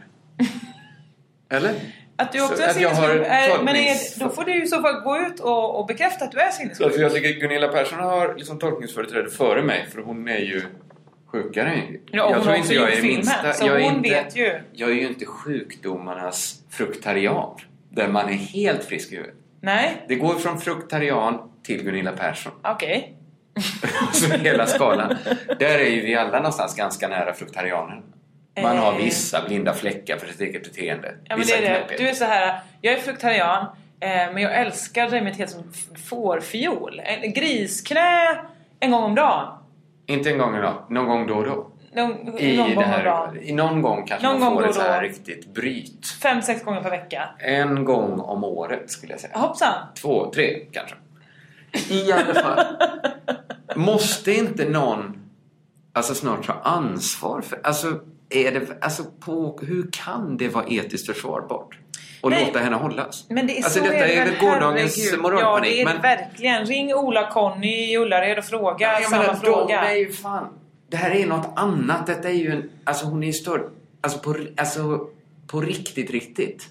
Speaker 3: Eller?
Speaker 2: Att du
Speaker 3: Så
Speaker 2: också
Speaker 3: att
Speaker 2: är
Speaker 3: jag
Speaker 2: sinnessjuk.
Speaker 3: har
Speaker 2: Är, men är,
Speaker 3: tolknings-
Speaker 2: då får du ju i så fall gå ut och, och bekräfta att du är sinnessjuk.
Speaker 3: Alltså jag tycker Gunilla Persson har liksom tolkningsföreträde före mig för hon är ju sjukare.
Speaker 2: Ja, och hon
Speaker 3: jag
Speaker 2: har också gjort filmen, så
Speaker 3: jag är
Speaker 2: hon
Speaker 3: inte,
Speaker 2: vet ju.
Speaker 3: Jag är ju inte sjukdomarnas fruktarian. Där man är helt frisk i huvudet.
Speaker 2: Nej,
Speaker 3: Det går från fruktarian till Gunilla Persson.
Speaker 2: okej.
Speaker 3: Alltså hela skalan. Där är ju vi alla någonstans ganska nära fruktarianen. Man har
Speaker 2: Eh.
Speaker 3: vissa blinda fläckar för sitt eget beteende.
Speaker 2: Ja, men
Speaker 3: vissa
Speaker 2: det är det.
Speaker 3: knäppheter.
Speaker 2: Du är så här, jag är fruktarian eh, men jag älskar remitthet som f- fårfiol. En grisknä en gång om dagen.
Speaker 3: Inte en gång idag. Någon gång då och då.
Speaker 2: Någon,
Speaker 3: I
Speaker 2: någon
Speaker 3: det
Speaker 2: gång om
Speaker 3: här,
Speaker 2: dagen.
Speaker 3: i någon gång kanske
Speaker 2: Någon
Speaker 3: man
Speaker 2: gång
Speaker 3: får
Speaker 2: då
Speaker 3: ett
Speaker 2: och
Speaker 3: så här
Speaker 2: då.
Speaker 3: riktigt bryt.
Speaker 2: Fem, sex gånger per vecka.
Speaker 3: En gång om året skulle jag säga.
Speaker 2: Hoppsan!
Speaker 3: Två, tre kanske. I alla fall. Måste inte någon alltså snart ta ansvar för... Alltså, är det, alltså på, hur kan det vara etiskt försvarbart? Och
Speaker 2: Nej.
Speaker 3: låta henne hållas?
Speaker 2: Men det är
Speaker 3: alltså
Speaker 2: så
Speaker 3: detta är
Speaker 2: det
Speaker 3: väl
Speaker 2: väl,
Speaker 3: gårdagens
Speaker 2: herregud.
Speaker 3: moralpanik.
Speaker 2: Ja, det är det
Speaker 3: men,
Speaker 2: verkligen. Ring Ola-Conny i Ullared och fråga
Speaker 3: jag
Speaker 2: samma
Speaker 3: menar,
Speaker 2: fråga.
Speaker 3: De är ju fan... Det här är något annat. Detta är ju en... Alltså hon är ju störd. Alltså på, alltså på riktigt, riktigt.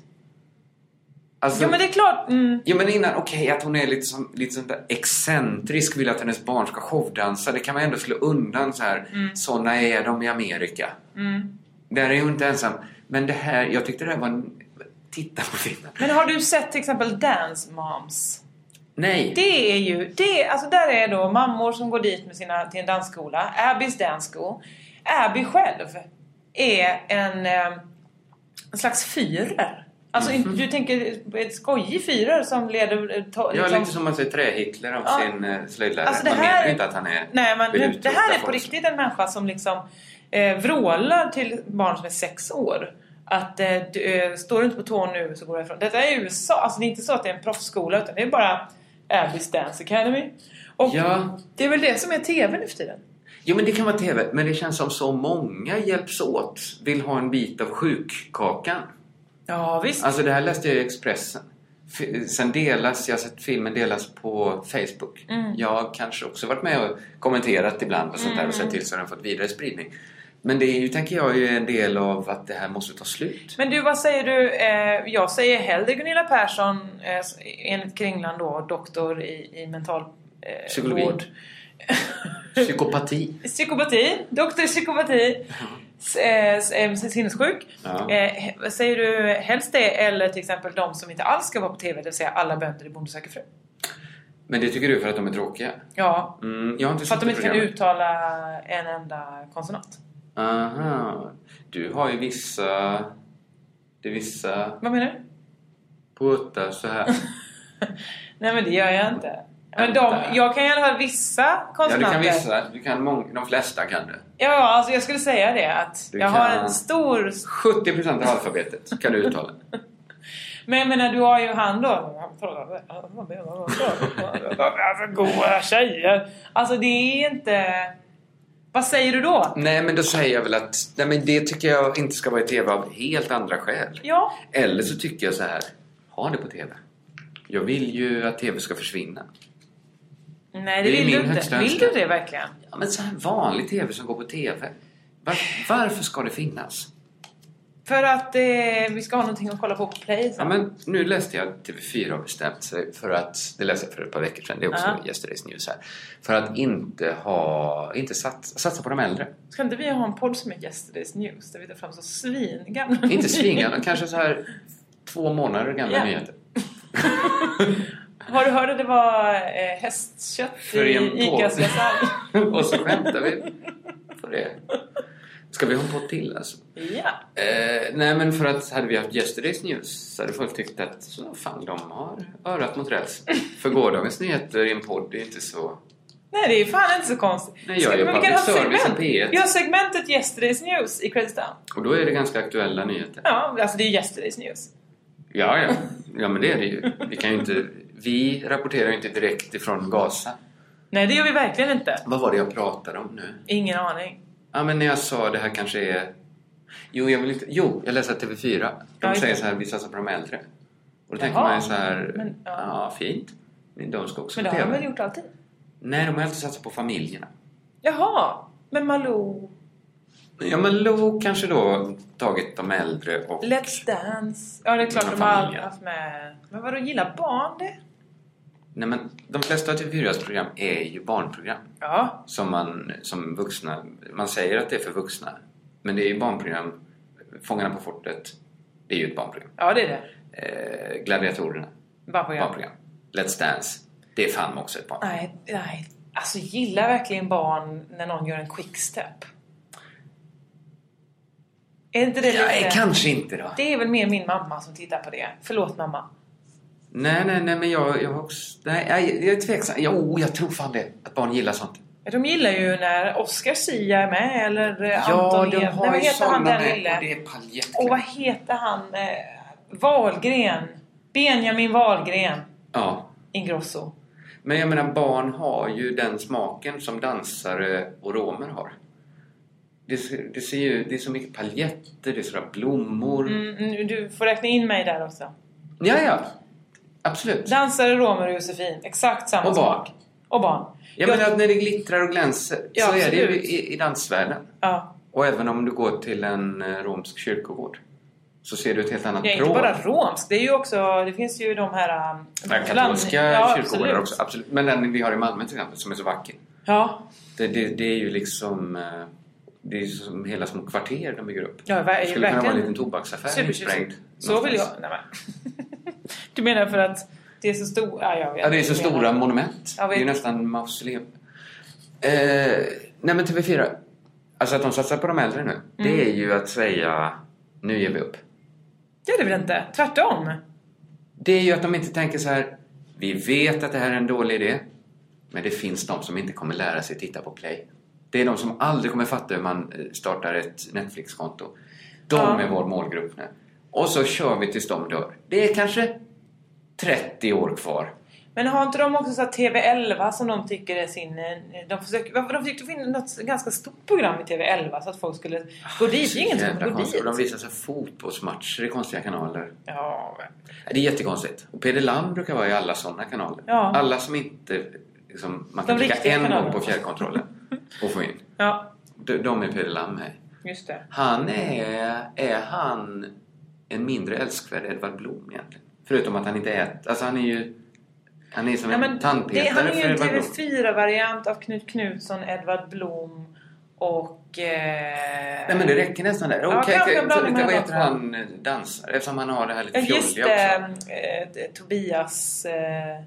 Speaker 3: Alltså,
Speaker 2: Jo men det är klart. Mm.
Speaker 3: Jo men innan, okej att hon är lite, som, lite sånt där excentrisk, vill att hennes barn ska showdansa. Det kan man ändå slå undan så här.
Speaker 2: Mm.
Speaker 3: Såna är de i Amerika. Där är hon inte ensam. Men det här, jag tyckte det här var... en- Titta på filmen.
Speaker 2: Men har du sett till exempel Dance Moms?
Speaker 3: Nej!
Speaker 2: Det är ju, det, alltså där är då mammor som går dit med sina, till en dansskola, Abbys dansskola. Abby själv är en, eh, en slags fyrer. Alltså in- du tänker ett skojig fyrer som leder... Ta,
Speaker 3: Mm. Ja,
Speaker 2: liksom-
Speaker 3: lite som man säger trä-Hitler om
Speaker 2: Ja.
Speaker 3: sin eh, slöjdlärare.
Speaker 2: Alltså, det
Speaker 3: man
Speaker 2: här-
Speaker 3: menar ju inte att han är...
Speaker 2: Nej, men
Speaker 3: vill
Speaker 2: nu, det
Speaker 3: utrota
Speaker 2: här är på
Speaker 3: folk.
Speaker 2: riktigt en människa som liksom eh, vrålar till barn som är sex år. Att eh, du, eh, står du inte på tå nu så går jag ifrån. Detta är USA, alltså det är inte så att det är en proffsskola utan det är bara Abbys Dance Academy. Och
Speaker 3: Ja.
Speaker 2: det är väl det som är TV nu för tiden.
Speaker 3: Jo, men det kan vara TV. Men det känns som så många hjälps åt. Vill ha en bit av sjukkakan.
Speaker 2: Ja, visst.
Speaker 3: Alltså det här läste jag i Expressen. F- Sen delas, jag har sett filmen delas på Facebook.
Speaker 2: Mm.
Speaker 3: Jag har kanske också varit med och kommenterat ibland och sånt där
Speaker 2: Mm.
Speaker 3: och sett till så den har fått vidare spridning. Men det är ju, tänker jag, ju en del av att det här måste ta slut.
Speaker 2: Men du, vad säger du? Eh, jag säger hellre Gunilla Persson, eh, s- enligt Kringland då, doktor i, i mental eh,
Speaker 3: Psykologi.
Speaker 2: vård.
Speaker 3: Psykopati.
Speaker 2: Psykopati, doktor i psykopati, s- eh, s- eh, sinnessjuk.
Speaker 3: Ja.
Speaker 2: Eh, he- säger du helst det eller till exempel de som inte alls ska vara på TV, det vill säga alla bönder i Bonde söker fru?
Speaker 3: Men det tycker du för att de är tråkiga?
Speaker 2: Ja,
Speaker 3: Mm, jag har inte
Speaker 2: för att de
Speaker 3: sett
Speaker 2: inte kan
Speaker 3: programmet.
Speaker 2: uttala en enda konsonant.
Speaker 3: Aha. Du har ju vissa... Det är vissa
Speaker 2: Vad menar du?
Speaker 3: puttar så här.
Speaker 2: Nej men det gör jag inte. Men de,
Speaker 3: Vänta.
Speaker 2: jag kan i alla fall vissa
Speaker 3: Ja, du
Speaker 2: konsonanter.
Speaker 3: kan vissa. Du kan mång- de flesta kan du.
Speaker 2: Ja, ja, alltså jag skulle säga det att
Speaker 3: Du
Speaker 2: jag har
Speaker 3: kan.
Speaker 2: en stor...
Speaker 3: 70 procent av alfabetet kan du uttala.
Speaker 2: Men jag menar, du har ju han då. Alltså goa tjejer. Alltså det är inte... Vad säger du då?
Speaker 3: nej, men då säger jag väl att nej, men det tycker jag inte ska vara i TV av helt andra skäl.
Speaker 2: Ja,
Speaker 3: Eller så tycker jag så här. Ha det på TV. Jag vill ju att TV ska försvinna.
Speaker 2: nej det,
Speaker 3: Det är
Speaker 2: vill
Speaker 3: min
Speaker 2: du inte.
Speaker 3: högsta
Speaker 2: Vill
Speaker 3: önskan.
Speaker 2: du det verkligen?
Speaker 3: Ja, men så här vanlig TV som går på TV. Var, varför ska det finnas?
Speaker 2: För att eh, vi ska ha någonting att kolla på på play
Speaker 3: Ja,
Speaker 2: sen.
Speaker 3: men nu läste jag att TV4 har bestämt sig för att, det läste jag för ett par veckor sedan, det är också
Speaker 2: Ja.
Speaker 3: Yesterday's News här, för att inte ha, inte satsa, satsa på de äldre.
Speaker 2: Ska inte vi ha en podd som är Yesterday's News? Där vi tar fram så svingamla
Speaker 3: Inte svingarna, kanske så här två månader gamla
Speaker 2: Ja.
Speaker 3: nyheter.
Speaker 2: Har du hört att det var eh, hästkött
Speaker 3: För
Speaker 2: i
Speaker 3: en påse.
Speaker 2: Icas kassan?
Speaker 3: Och så skämtar vi på det. Ska vi ha en podd till alltså?
Speaker 2: ja.
Speaker 3: Eh, nej men för att hade vi haft Yesterday's News så hade folk tyckt att så fan de har örat mot räls. För gårdagens nyheter i en podd det är inte så...
Speaker 2: Nej, det är fan inte så konstigt.
Speaker 3: Nej, jag är
Speaker 2: men vi
Speaker 3: public
Speaker 2: kan ha
Speaker 3: service
Speaker 2: segment.
Speaker 3: i P1.
Speaker 2: Vi har segmentet Yesterday's News i Crazy Town.
Speaker 3: Och då är det ganska aktuella nyheter.
Speaker 2: Ja, alltså det är Yesterday's News.
Speaker 3: Ja, ja. Ja, men det är det ju. Vi kan ju inte... Vi rapporterar ju inte direkt ifrån Gaza.
Speaker 2: Nej, det gör vi verkligen inte.
Speaker 3: Vad var det jag pratade om nu?
Speaker 2: Ingen aning.
Speaker 3: Ja, men när jag sa det här kanske är... Jo, jag vill inte... Jo, jag läste att TV4.
Speaker 2: Ja,
Speaker 3: De
Speaker 2: just
Speaker 3: säger
Speaker 2: det.
Speaker 3: så här, vi satsar på de äldre. Och då tänker
Speaker 2: Jaha.
Speaker 3: man ju så här,
Speaker 2: Men, ja.
Speaker 3: ja. fint. Men de ska också
Speaker 2: Men det har
Speaker 3: få
Speaker 2: de
Speaker 3: TV.
Speaker 2: väl gjort alltid?
Speaker 3: Nej, de har alltid satsat på familjerna.
Speaker 2: Jaha, men Malou,
Speaker 3: Ja, men Lo kanske då tagit de äldre och...
Speaker 2: Let's Dance. Ja, det är klart
Speaker 3: Mina
Speaker 2: de har aldrig
Speaker 3: familjer.
Speaker 2: haft med... Men vadå, gillar barn det?
Speaker 3: Nej, men de flesta av TV4s program är ju barnprogram.
Speaker 2: Ja,
Speaker 3: som man som vuxna, man säger att det är för vuxna. Men det är ju barnprogram. Fångarna på fortet, det är ju ett barnprogram.
Speaker 2: ja det är det.
Speaker 3: Eh, Gladiatorerna,
Speaker 2: Bara på jag.
Speaker 3: barnprogram. Let's Dance, det är fan också ett barnprogram.
Speaker 2: Nej, nej. Alltså gillar verkligen barn när någon gör en quickstep? Är inte det lite...
Speaker 3: Nej, kanske inte då.
Speaker 2: Det är väl mer min mamma som tittar på det. Förlåt mamma.
Speaker 3: Nej, nej, nej, men jag, jag har också... Nej, jag, jag är tveksam. Jo, jag tror fan det. Att barn gillar sånt.
Speaker 2: Ja, De gillar ju när Oscar Sia är med eller eh,
Speaker 3: Ja,
Speaker 2: Anton
Speaker 3: de
Speaker 2: Ed- Nej,
Speaker 3: har
Speaker 2: vad
Speaker 3: ju
Speaker 2: heter
Speaker 3: såna
Speaker 2: han den
Speaker 3: med. Och det
Speaker 2: lille?
Speaker 3: är
Speaker 2: Och vad
Speaker 3: paljettkläder.
Speaker 2: heter han? Eh, Wahlgren. Benjamin Wahlgren
Speaker 3: Ja.
Speaker 2: Ingrosso.
Speaker 3: Men jag menar, barn har ju den smaken som dansare och romer har. Det, ser- det, ser ju, det är så mycket paljetter, det är sådana blommor.
Speaker 2: Mm, mm, du får räkna in mig där också.
Speaker 3: Ja, ja. Absolut.
Speaker 2: Dansare, romer och Josefin. Exakt samma
Speaker 3: Och barn.
Speaker 2: smak. Och barn.
Speaker 3: Jag menar att när det glittrar och glänser
Speaker 2: Ja,
Speaker 3: så är det ju
Speaker 2: absolut.
Speaker 3: i, i dansvärlden.
Speaker 2: Ja.
Speaker 3: Och även om du går till en eh, romsk kyrkogård så ser du ett helt annat
Speaker 2: Det är inte
Speaker 3: prål.
Speaker 2: bara romsk. Det är ju också... Det finns ju de här... Um,
Speaker 3: Ja, katolska kyrkogårdar också. Absolut. Men den vi har i Malmö till exempel som är så vacker.
Speaker 2: Ja.
Speaker 3: Det, det, det är ju liksom... eh, Det är ju som hela små kvarter de bygger upp.
Speaker 2: Ja, ver-
Speaker 3: det skulle kunna vara en
Speaker 2: verkligen.
Speaker 3: liten tobaksaffär
Speaker 2: Supertjusigt.
Speaker 3: insprängd.
Speaker 2: Så vill jag...
Speaker 3: någonstans.
Speaker 2: Nej, men. du menar för att det är så stor... Ja, jag vet.
Speaker 3: Ja, det är så
Speaker 2: vad du menar.
Speaker 3: stora monument.
Speaker 2: Jag
Speaker 3: Det
Speaker 2: vet.
Speaker 3: är ju nästan mausoleum. Eh, nej men
Speaker 2: Mm.
Speaker 3: TV4. Alltså att de satsar på de äldre nu. Det är ju att säga nu ger vi upp.
Speaker 2: Det är det väl inte? Tvärtom.
Speaker 3: Det är ju att de inte tänker så här. Vi vet att det här är en dålig idé. Men det finns de som inte kommer lära sig titta på Play. Det är de som aldrig kommer fatta hur man eh, startar ett Netflix-konto. De
Speaker 2: Ja.
Speaker 3: är vår målgrupp nu. Och så kör vi tills de dör. Det är kanske 30 år kvar.
Speaker 2: Men har inte de också så här TV11 som de tycker är sin... eh, De, försöker, varför- de försökte få in något ganska stort program i TV11 så att folk skulle gå dit. Det är ingen som
Speaker 3: Ah, Jävla
Speaker 2: kommer gå
Speaker 3: konstigt.
Speaker 2: dit.
Speaker 3: Och De visar sig fotbollsmatcher i konstiga kanaler.
Speaker 2: Ja,
Speaker 3: Det är jättekonstigt. Och Peder Lam brukar vara i alla sådana kanaler.
Speaker 2: Ja.
Speaker 3: Alla som inte... Liksom, man
Speaker 2: De
Speaker 3: kan klicka
Speaker 2: riktiga
Speaker 3: en
Speaker 2: kanalerna.
Speaker 3: gång på fjärrkontrollen och få in.
Speaker 2: ja,
Speaker 3: De, de är Peder Lam med.
Speaker 2: just det.
Speaker 3: Han är... Är han en mindre älskvärd Edvard Blom egentligen? Förutom att han inte äter... Alltså han är ju... Han är som
Speaker 2: Ja,
Speaker 3: en
Speaker 2: men det,
Speaker 3: tandpetare
Speaker 2: han är
Speaker 3: för
Speaker 2: ju en
Speaker 3: Edvard Blom.
Speaker 2: TV4-variant av Knut Knutsson, Edvard Blom och... Eh,
Speaker 3: Nej men det räcker nästan där.
Speaker 2: Ja,
Speaker 3: Okej,
Speaker 2: kanske
Speaker 3: okej.
Speaker 2: jag blandar
Speaker 3: Så- Vad
Speaker 2: med
Speaker 3: heter han eh, dansare? Eftersom han har det här
Speaker 2: Ja,
Speaker 3: lite
Speaker 2: just
Speaker 3: fjolliga
Speaker 2: det.
Speaker 3: också.
Speaker 2: eh, t- Tobias... Eh,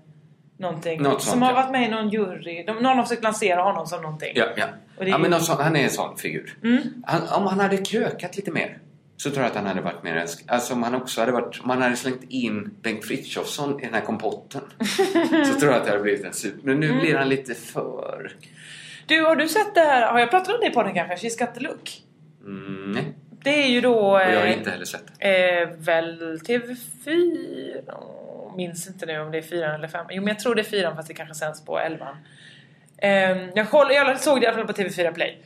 Speaker 2: någonting.
Speaker 3: Något
Speaker 2: som
Speaker 3: sånt,
Speaker 2: har
Speaker 3: ja.
Speaker 2: varit med i någon jury. De, någon har försökt lansera honom som någonting.
Speaker 3: Ja, ja.
Speaker 2: Och det är
Speaker 3: ja
Speaker 2: ju-
Speaker 3: men någon sån, han är en sån figur.
Speaker 2: Mm.
Speaker 3: Han, om han hade krökat lite mer så tror jag att han hade varit mer älskad. Alltså om han också hade varit... Om han hade slängt in Bengt Frithiofsson i den här kompotten så tror jag att det hade blivit en super... Men nu blir han lite för...
Speaker 2: Du, har du sett det här? Har jag pratat om det i podden kanske? She's got the look.
Speaker 3: Mm, nej.
Speaker 2: Det är ju då...
Speaker 3: Och jag har
Speaker 2: eh,
Speaker 3: inte heller sett det.
Speaker 2: Eh, väl TV4? Åh, Minns inte nu om det är fyran eller femman. Jo men jag tror det är fyran fast det kanske sänds på elvan. Eh, jag, koll, jag såg det i alla fall på TV4 Play.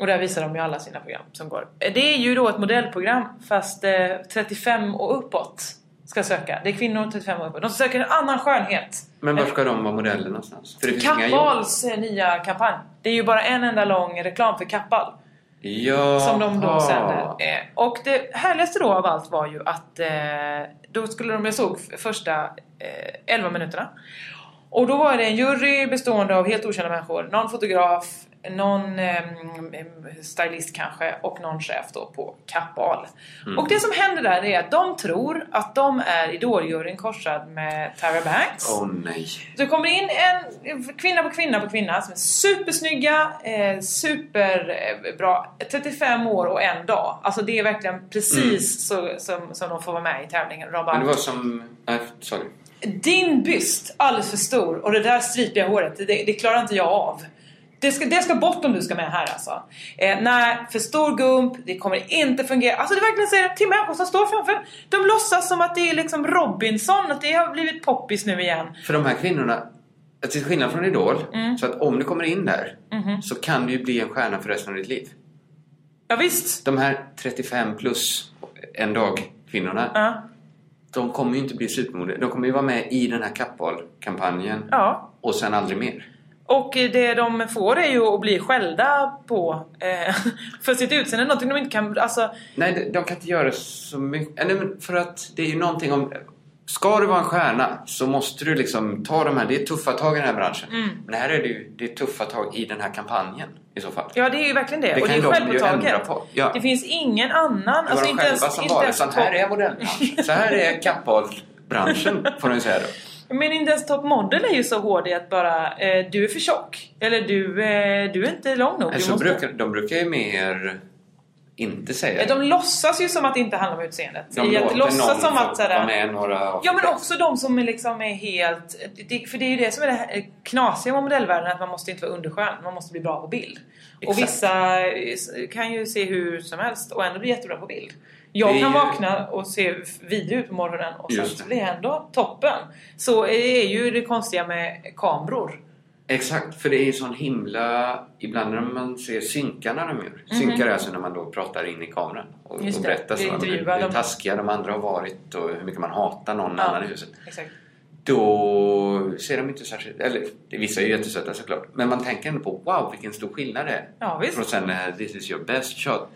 Speaker 2: Och där visar de ju alla sina program som går. Eh, Det är ju då ett modellprogram fast eh, 35 och uppåt ska söka. Det är kvinnor 35 och uppåt. De söker en annan skönhet.
Speaker 3: Men var
Speaker 2: eh,
Speaker 3: ska de vara modeller någonstans? För det finns inga jobb.
Speaker 2: Kappahls eh, nya kampanj. Det är ju bara en enda lång reklam för Kappahl.
Speaker 3: Ja.
Speaker 2: Som de då sände. Eh, Och det härligaste då av allt var ju att eh, då skulle de, jag såg f- första eh, 11 minuterna. Och då var det en jury bestående av helt okända människor. Någon fotograf, någon ehm, em, stylist kanske och någon chef då på Kappahl. Och det som händer där är att de tror att de är Idoljuryn korsad med Tyra Banks.
Speaker 3: Åh nej.
Speaker 2: Så det kommer in en kvinna på kvinna på kvinna som är supersnygga, eh, superbra, 35 år och en dag. Alltså det är verkligen precis så, som, som de får vara med i tävlingen. Och De bara,
Speaker 3: Mm. Men det var som... Nej, sorry.
Speaker 2: Din byst, alldeles för stor och det där stripiga håret, det, det klarar inte jag av. Det ska, det ska bort om du ska med här alltså. Eh, nej, för stor gump, det kommer inte fungera. Alltså det är verkligen säger till människor som står framför en. De låtsas som att det är liksom Robinson, att det har blivit poppis nu igen.
Speaker 3: För de här kvinnorna, att till skillnad från Idol,
Speaker 2: Mm.
Speaker 3: så att om du kommer in där
Speaker 2: Mm-hmm.
Speaker 3: så kan du ju bli en stjärna för resten av ditt liv.
Speaker 2: Ja, visst.
Speaker 3: De här 35 plus en dag kvinnorna,
Speaker 2: Ja.
Speaker 3: de kommer ju inte bli supermodeller. De kommer ju vara med i den här Kappahl-kampanjen
Speaker 2: Ja.
Speaker 3: och sen aldrig mer.
Speaker 2: Och eh, det de får är ju att bli skällda på eh, för sitt utseende. Någonting de inte kan... Alltså,
Speaker 3: Nej, de- de kan inte göra så mycket. Eller, men för att det är ju någonting om... Ska du vara en stjärna så måste du liksom ta de här... Det är tuffa tag i den här branschen.
Speaker 2: Mm.
Speaker 3: Men här är det ju det är tuffa tag i den här kampanjen i så fall.
Speaker 2: ja, det är ju verkligen det.
Speaker 3: Det
Speaker 2: och det är
Speaker 3: kan de ju
Speaker 2: självpåtaget.
Speaker 3: ändra på. Ja.
Speaker 2: Det finns ingen annan... alltså,
Speaker 3: Det var
Speaker 2: inte
Speaker 3: de själva
Speaker 2: ens-
Speaker 3: som
Speaker 2: inte
Speaker 3: var det.
Speaker 2: ens
Speaker 3: Så här
Speaker 2: topp-
Speaker 3: är modellbranschen. Så här är Kappahl-branschen, får man ju säga då.
Speaker 2: Men inte ens Top Model är ju så hård i att bara eh, du är för tjock. Eller du, eh, du är inte lång nog.
Speaker 3: Men
Speaker 2: Du
Speaker 3: så
Speaker 2: måste...
Speaker 3: Alltså, brukar, de brukar ju mer inte säga
Speaker 2: Eh, De låtsas ju som att det inte handlar om utseendet. I att låtsas som att...
Speaker 3: få
Speaker 2: sådär-
Speaker 3: vara med i några
Speaker 2: Ja men också de som är liksom är helt... det- För det är ju det som är det här knasiga med modellvärlden att man måste inte vara underskön, man måste bli bra på bild.
Speaker 3: Exakt.
Speaker 2: Och vissa eh, kan ju se hur som helst och ändå bli jättebra på bild. Jag
Speaker 3: Det är
Speaker 2: kan
Speaker 3: ju-
Speaker 2: vakna och se vidrig ut på morgonen och sen
Speaker 3: Just
Speaker 2: så
Speaker 3: det.
Speaker 2: blir jag ändå toppen. Så är ju det konstiga med kameror.
Speaker 3: Exakt, för det är ju sån himla... Ibland när man ser synkarna de gör. Synkar är alltså när man då pratar in i kameran och, och
Speaker 2: Mhm. Just det,
Speaker 3: berättar
Speaker 2: vi
Speaker 3: så hur,
Speaker 2: intervjuar
Speaker 3: hur
Speaker 2: dem.
Speaker 3: taskiga de andra har varit och hur mycket man hatar någon annan i huset.
Speaker 2: Exakt.
Speaker 3: Då ser de inte särskilt... Eller det- vissa är ju jättesöta såklart. Men man tänker ändå på wow vilken stor skillnad det är.
Speaker 2: Ja, visst.
Speaker 3: Från sen det här this is your best shot.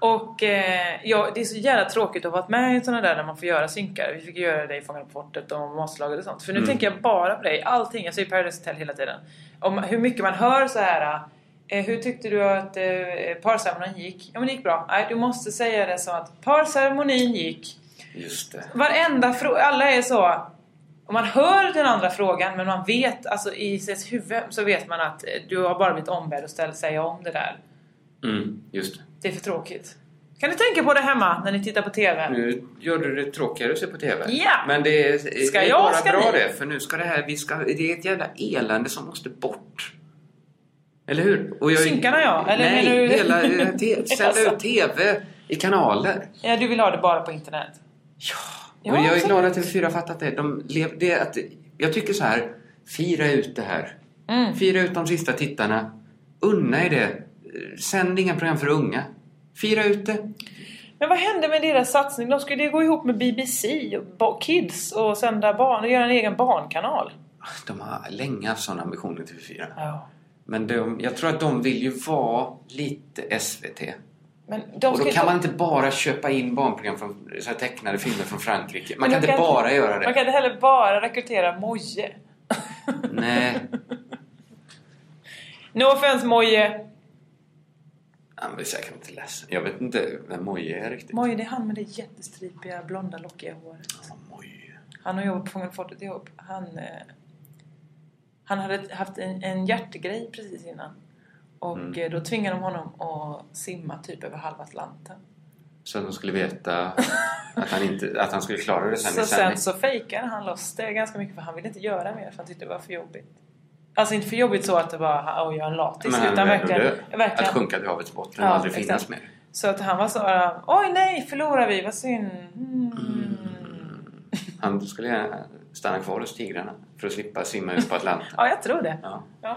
Speaker 2: Och eh, ja, det är så jävla tråkigt att ha varit med i sådana där där man får göra synkar. Vi fick göra det i Fångarna på fortet och Matslaget och sånt. För nu tänker jag bara på dig. Allting. Jag säger Paradise Hotel hela tiden. Om hur mycket man hör så här. Eh, hur tyckte du att eh, parceremonin gick? Ja men det gick bra. Nej, du måste säga det som att parceremonin gick.
Speaker 3: Just det.
Speaker 2: Varenda fråga, alla är så. Om man hör den andra frågan men man vet, alltså i sitt huvud så vet man att eh, du har bara blivit ombedd att ställa, säga om det där.
Speaker 3: Mm, just det.
Speaker 2: Det är för tråkigt. Kan ni tänka på det hemma när ni tittar på TV?
Speaker 3: Nu gör du det tråkigare att se på TV.
Speaker 2: Ja.
Speaker 3: Men det är,
Speaker 2: Ska
Speaker 3: det är
Speaker 2: jag,
Speaker 3: bara
Speaker 2: ska
Speaker 3: bra
Speaker 2: ni?
Speaker 3: det, för nu ska det här... Vi ska, det är ett jävla elände som måste bort. Eller hur? Och
Speaker 2: Synkarna, ja. Eller
Speaker 3: nej,
Speaker 2: menar du-
Speaker 3: hela... eh, te- Sända ut TV i kanaler.
Speaker 2: Ja, du vill ha det bara på internet? Ja,
Speaker 3: och jag är
Speaker 2: exakt.
Speaker 3: glad att TV4 har fattat det. De lev, det är att, jag tycker så här, fira ut det här.
Speaker 2: Mm.
Speaker 3: Fira ut de sista tittarna. Unna er det. Eh, Sänd inga program för unga. Fira ut det.
Speaker 2: Men vad hände med deras satsning? De skulle ju gå ihop med BBC och ba- Kids och sända barn och göra en egen barnkanal.
Speaker 3: De har länge haft sådana ambitioner, TV4.
Speaker 2: Ja.
Speaker 3: Men de, jag tror att de vill ju vara lite SVT.
Speaker 2: Men de
Speaker 3: och då
Speaker 2: ska-
Speaker 3: kan man inte bara köpa in barnprogram från så här tecknade filmer från Frankrike. Man
Speaker 2: Men
Speaker 3: kan
Speaker 2: de
Speaker 3: inte bara göra det.
Speaker 2: Man kan inte heller bara rekrytera Moje.
Speaker 3: Nej.
Speaker 2: No offense Moje.
Speaker 3: Han blir säkert inte ledsen. Jag vet inte vem Moje är riktigt.
Speaker 2: Moje det är han med det jättestripiga blonda lockiga håret.
Speaker 3: Ja, Moje.
Speaker 2: Han har jobbat på Fångarna på fortet ihop. Han, eh, han hade haft en, en hjärtegrej precis innan. Och
Speaker 3: Mm.
Speaker 2: eh, då tvingade de honom att simma typ över halva Atlanten.
Speaker 3: Så att de skulle veta att han, inte, att han skulle klara det sen
Speaker 2: Så
Speaker 3: i sändning.
Speaker 2: sen så fejkade han loss det ganska mycket för han ville inte göra mer för han tyckte det var för jobbigt. Alltså inte för jobbigt så att det var åh jag är en latis.
Speaker 3: Men han
Speaker 2: utan
Speaker 3: är ändå
Speaker 2: verkligen,
Speaker 3: död.
Speaker 2: verkligen.
Speaker 3: Att sjunka till havets botten
Speaker 2: Ja,
Speaker 3: och aldrig
Speaker 2: exakt.
Speaker 3: finnas mer.
Speaker 2: Så att han var så här, oj nej förlorar vi, vad synd. Mm.
Speaker 3: Han skulle gärna stanna kvar hos tigrarna för att slippa simma ut på Atlanten.
Speaker 2: Ja jag tror det.
Speaker 3: Ja.
Speaker 2: Ja.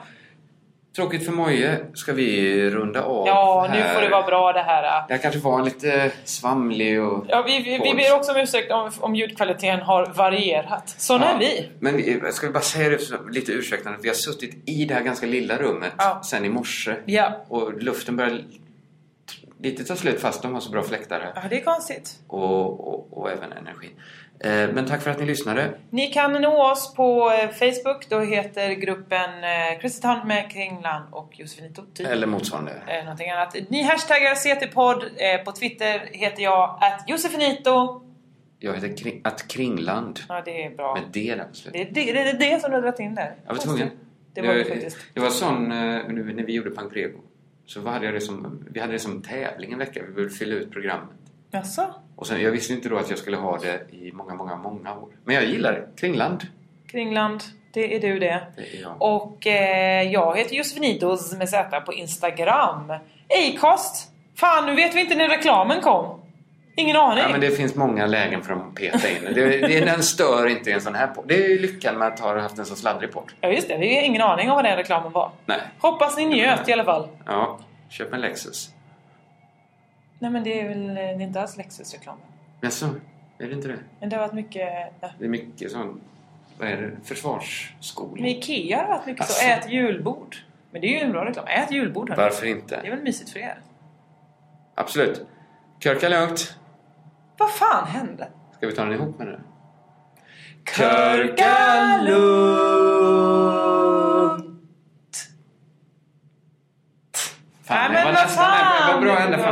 Speaker 3: Tråkigt för Moje. Ska vi runda av
Speaker 2: Ja nu
Speaker 3: här?
Speaker 2: får det vara bra det här. äh,
Speaker 3: Jag kanske var lite svamlig och...
Speaker 2: Ja, vi, vi, vi ber också om ursäkt om, om ljudkvaliteten har varierat. Sådana är vi.
Speaker 3: Men vi- ska vi bara säga det så- lite ursäktande. Vi har suttit i det här ganska lilla rummet
Speaker 2: Ja.
Speaker 3: sen i morse.
Speaker 2: Ja.
Speaker 3: Och luften börjar lite ta slut fast de har så bra fläktar här.
Speaker 2: ja, det är konstigt.
Speaker 3: Och, och, och även energin. Eh, men tack för att ni lyssnade.
Speaker 2: Ni kan nå oss på eh, Facebook. Då heter gruppen eh, Kristian med Kringland och Josefin Totti.
Speaker 3: Eller motsvarande.
Speaker 2: eh, någonting annat. Ni hashtaggar CT-podd. Eh, på Twitter heter jag att Josefinito.
Speaker 3: Jag heter kring, att Kringland.
Speaker 2: Ja, det är bra.
Speaker 3: Med D där på slutet.
Speaker 2: Det är det, det, är det som du har dragit in där.
Speaker 3: Jag var tvungen.
Speaker 2: Det var det
Speaker 3: var-
Speaker 2: faktiskt.
Speaker 3: det var sån, eh, nu, när vi gjorde Pankrego. Så vad hade jag det som, vi hade det som tävling en vecka. Vi ville fylla ut programmet.
Speaker 2: Jaså?
Speaker 3: Och sen, jag visste inte då att jag skulle ha det i många, många, många år. Men jag gillar det. Kringland.
Speaker 2: Kringland, det är du det.
Speaker 3: Det är jag.
Speaker 2: Och eh, jag heter Josefinitos med Z på Instagram. Acast! Fan, nu vet vi inte när reklamen kom. Ingen aning.
Speaker 3: Ja, men det finns många lägen för dem att peta in. Det, det, den stör inte i en sån här podd. Det är ju lyckan med att ha haft en så sladdrig podd.
Speaker 2: ja, just det. Vi har ingen aning om vad den reklamen var.
Speaker 3: Nej.
Speaker 2: Hoppas ni njöt i alla fall.
Speaker 3: Ja, köp en Lexus.
Speaker 2: Nej, men det är väl eh, det är inte alls Lexus-reklamen.
Speaker 3: Men så är det inte det?
Speaker 2: Men det har varit mycket... Ja.
Speaker 3: Det är mycket sån... Vad är det? Försvarsskola.
Speaker 2: Med IKEA har det varit mycket så.
Speaker 3: Asså.
Speaker 2: Ät julbord. Men det är ju en bra reklam. Ät julbord hörni.
Speaker 3: Varför
Speaker 2: Det
Speaker 3: inte?
Speaker 2: är väl mysigt för er?
Speaker 3: Absolut. Körka lugnt.
Speaker 2: Vad fan hände?
Speaker 3: Ska vi ta den ihop med det?
Speaker 2: lugnt!
Speaker 3: Fan,
Speaker 2: Nej, men
Speaker 3: jag var
Speaker 2: vad
Speaker 3: nästan där.
Speaker 2: fan!
Speaker 3: Det var bra
Speaker 2: Det
Speaker 3: ända
Speaker 2: var
Speaker 3: E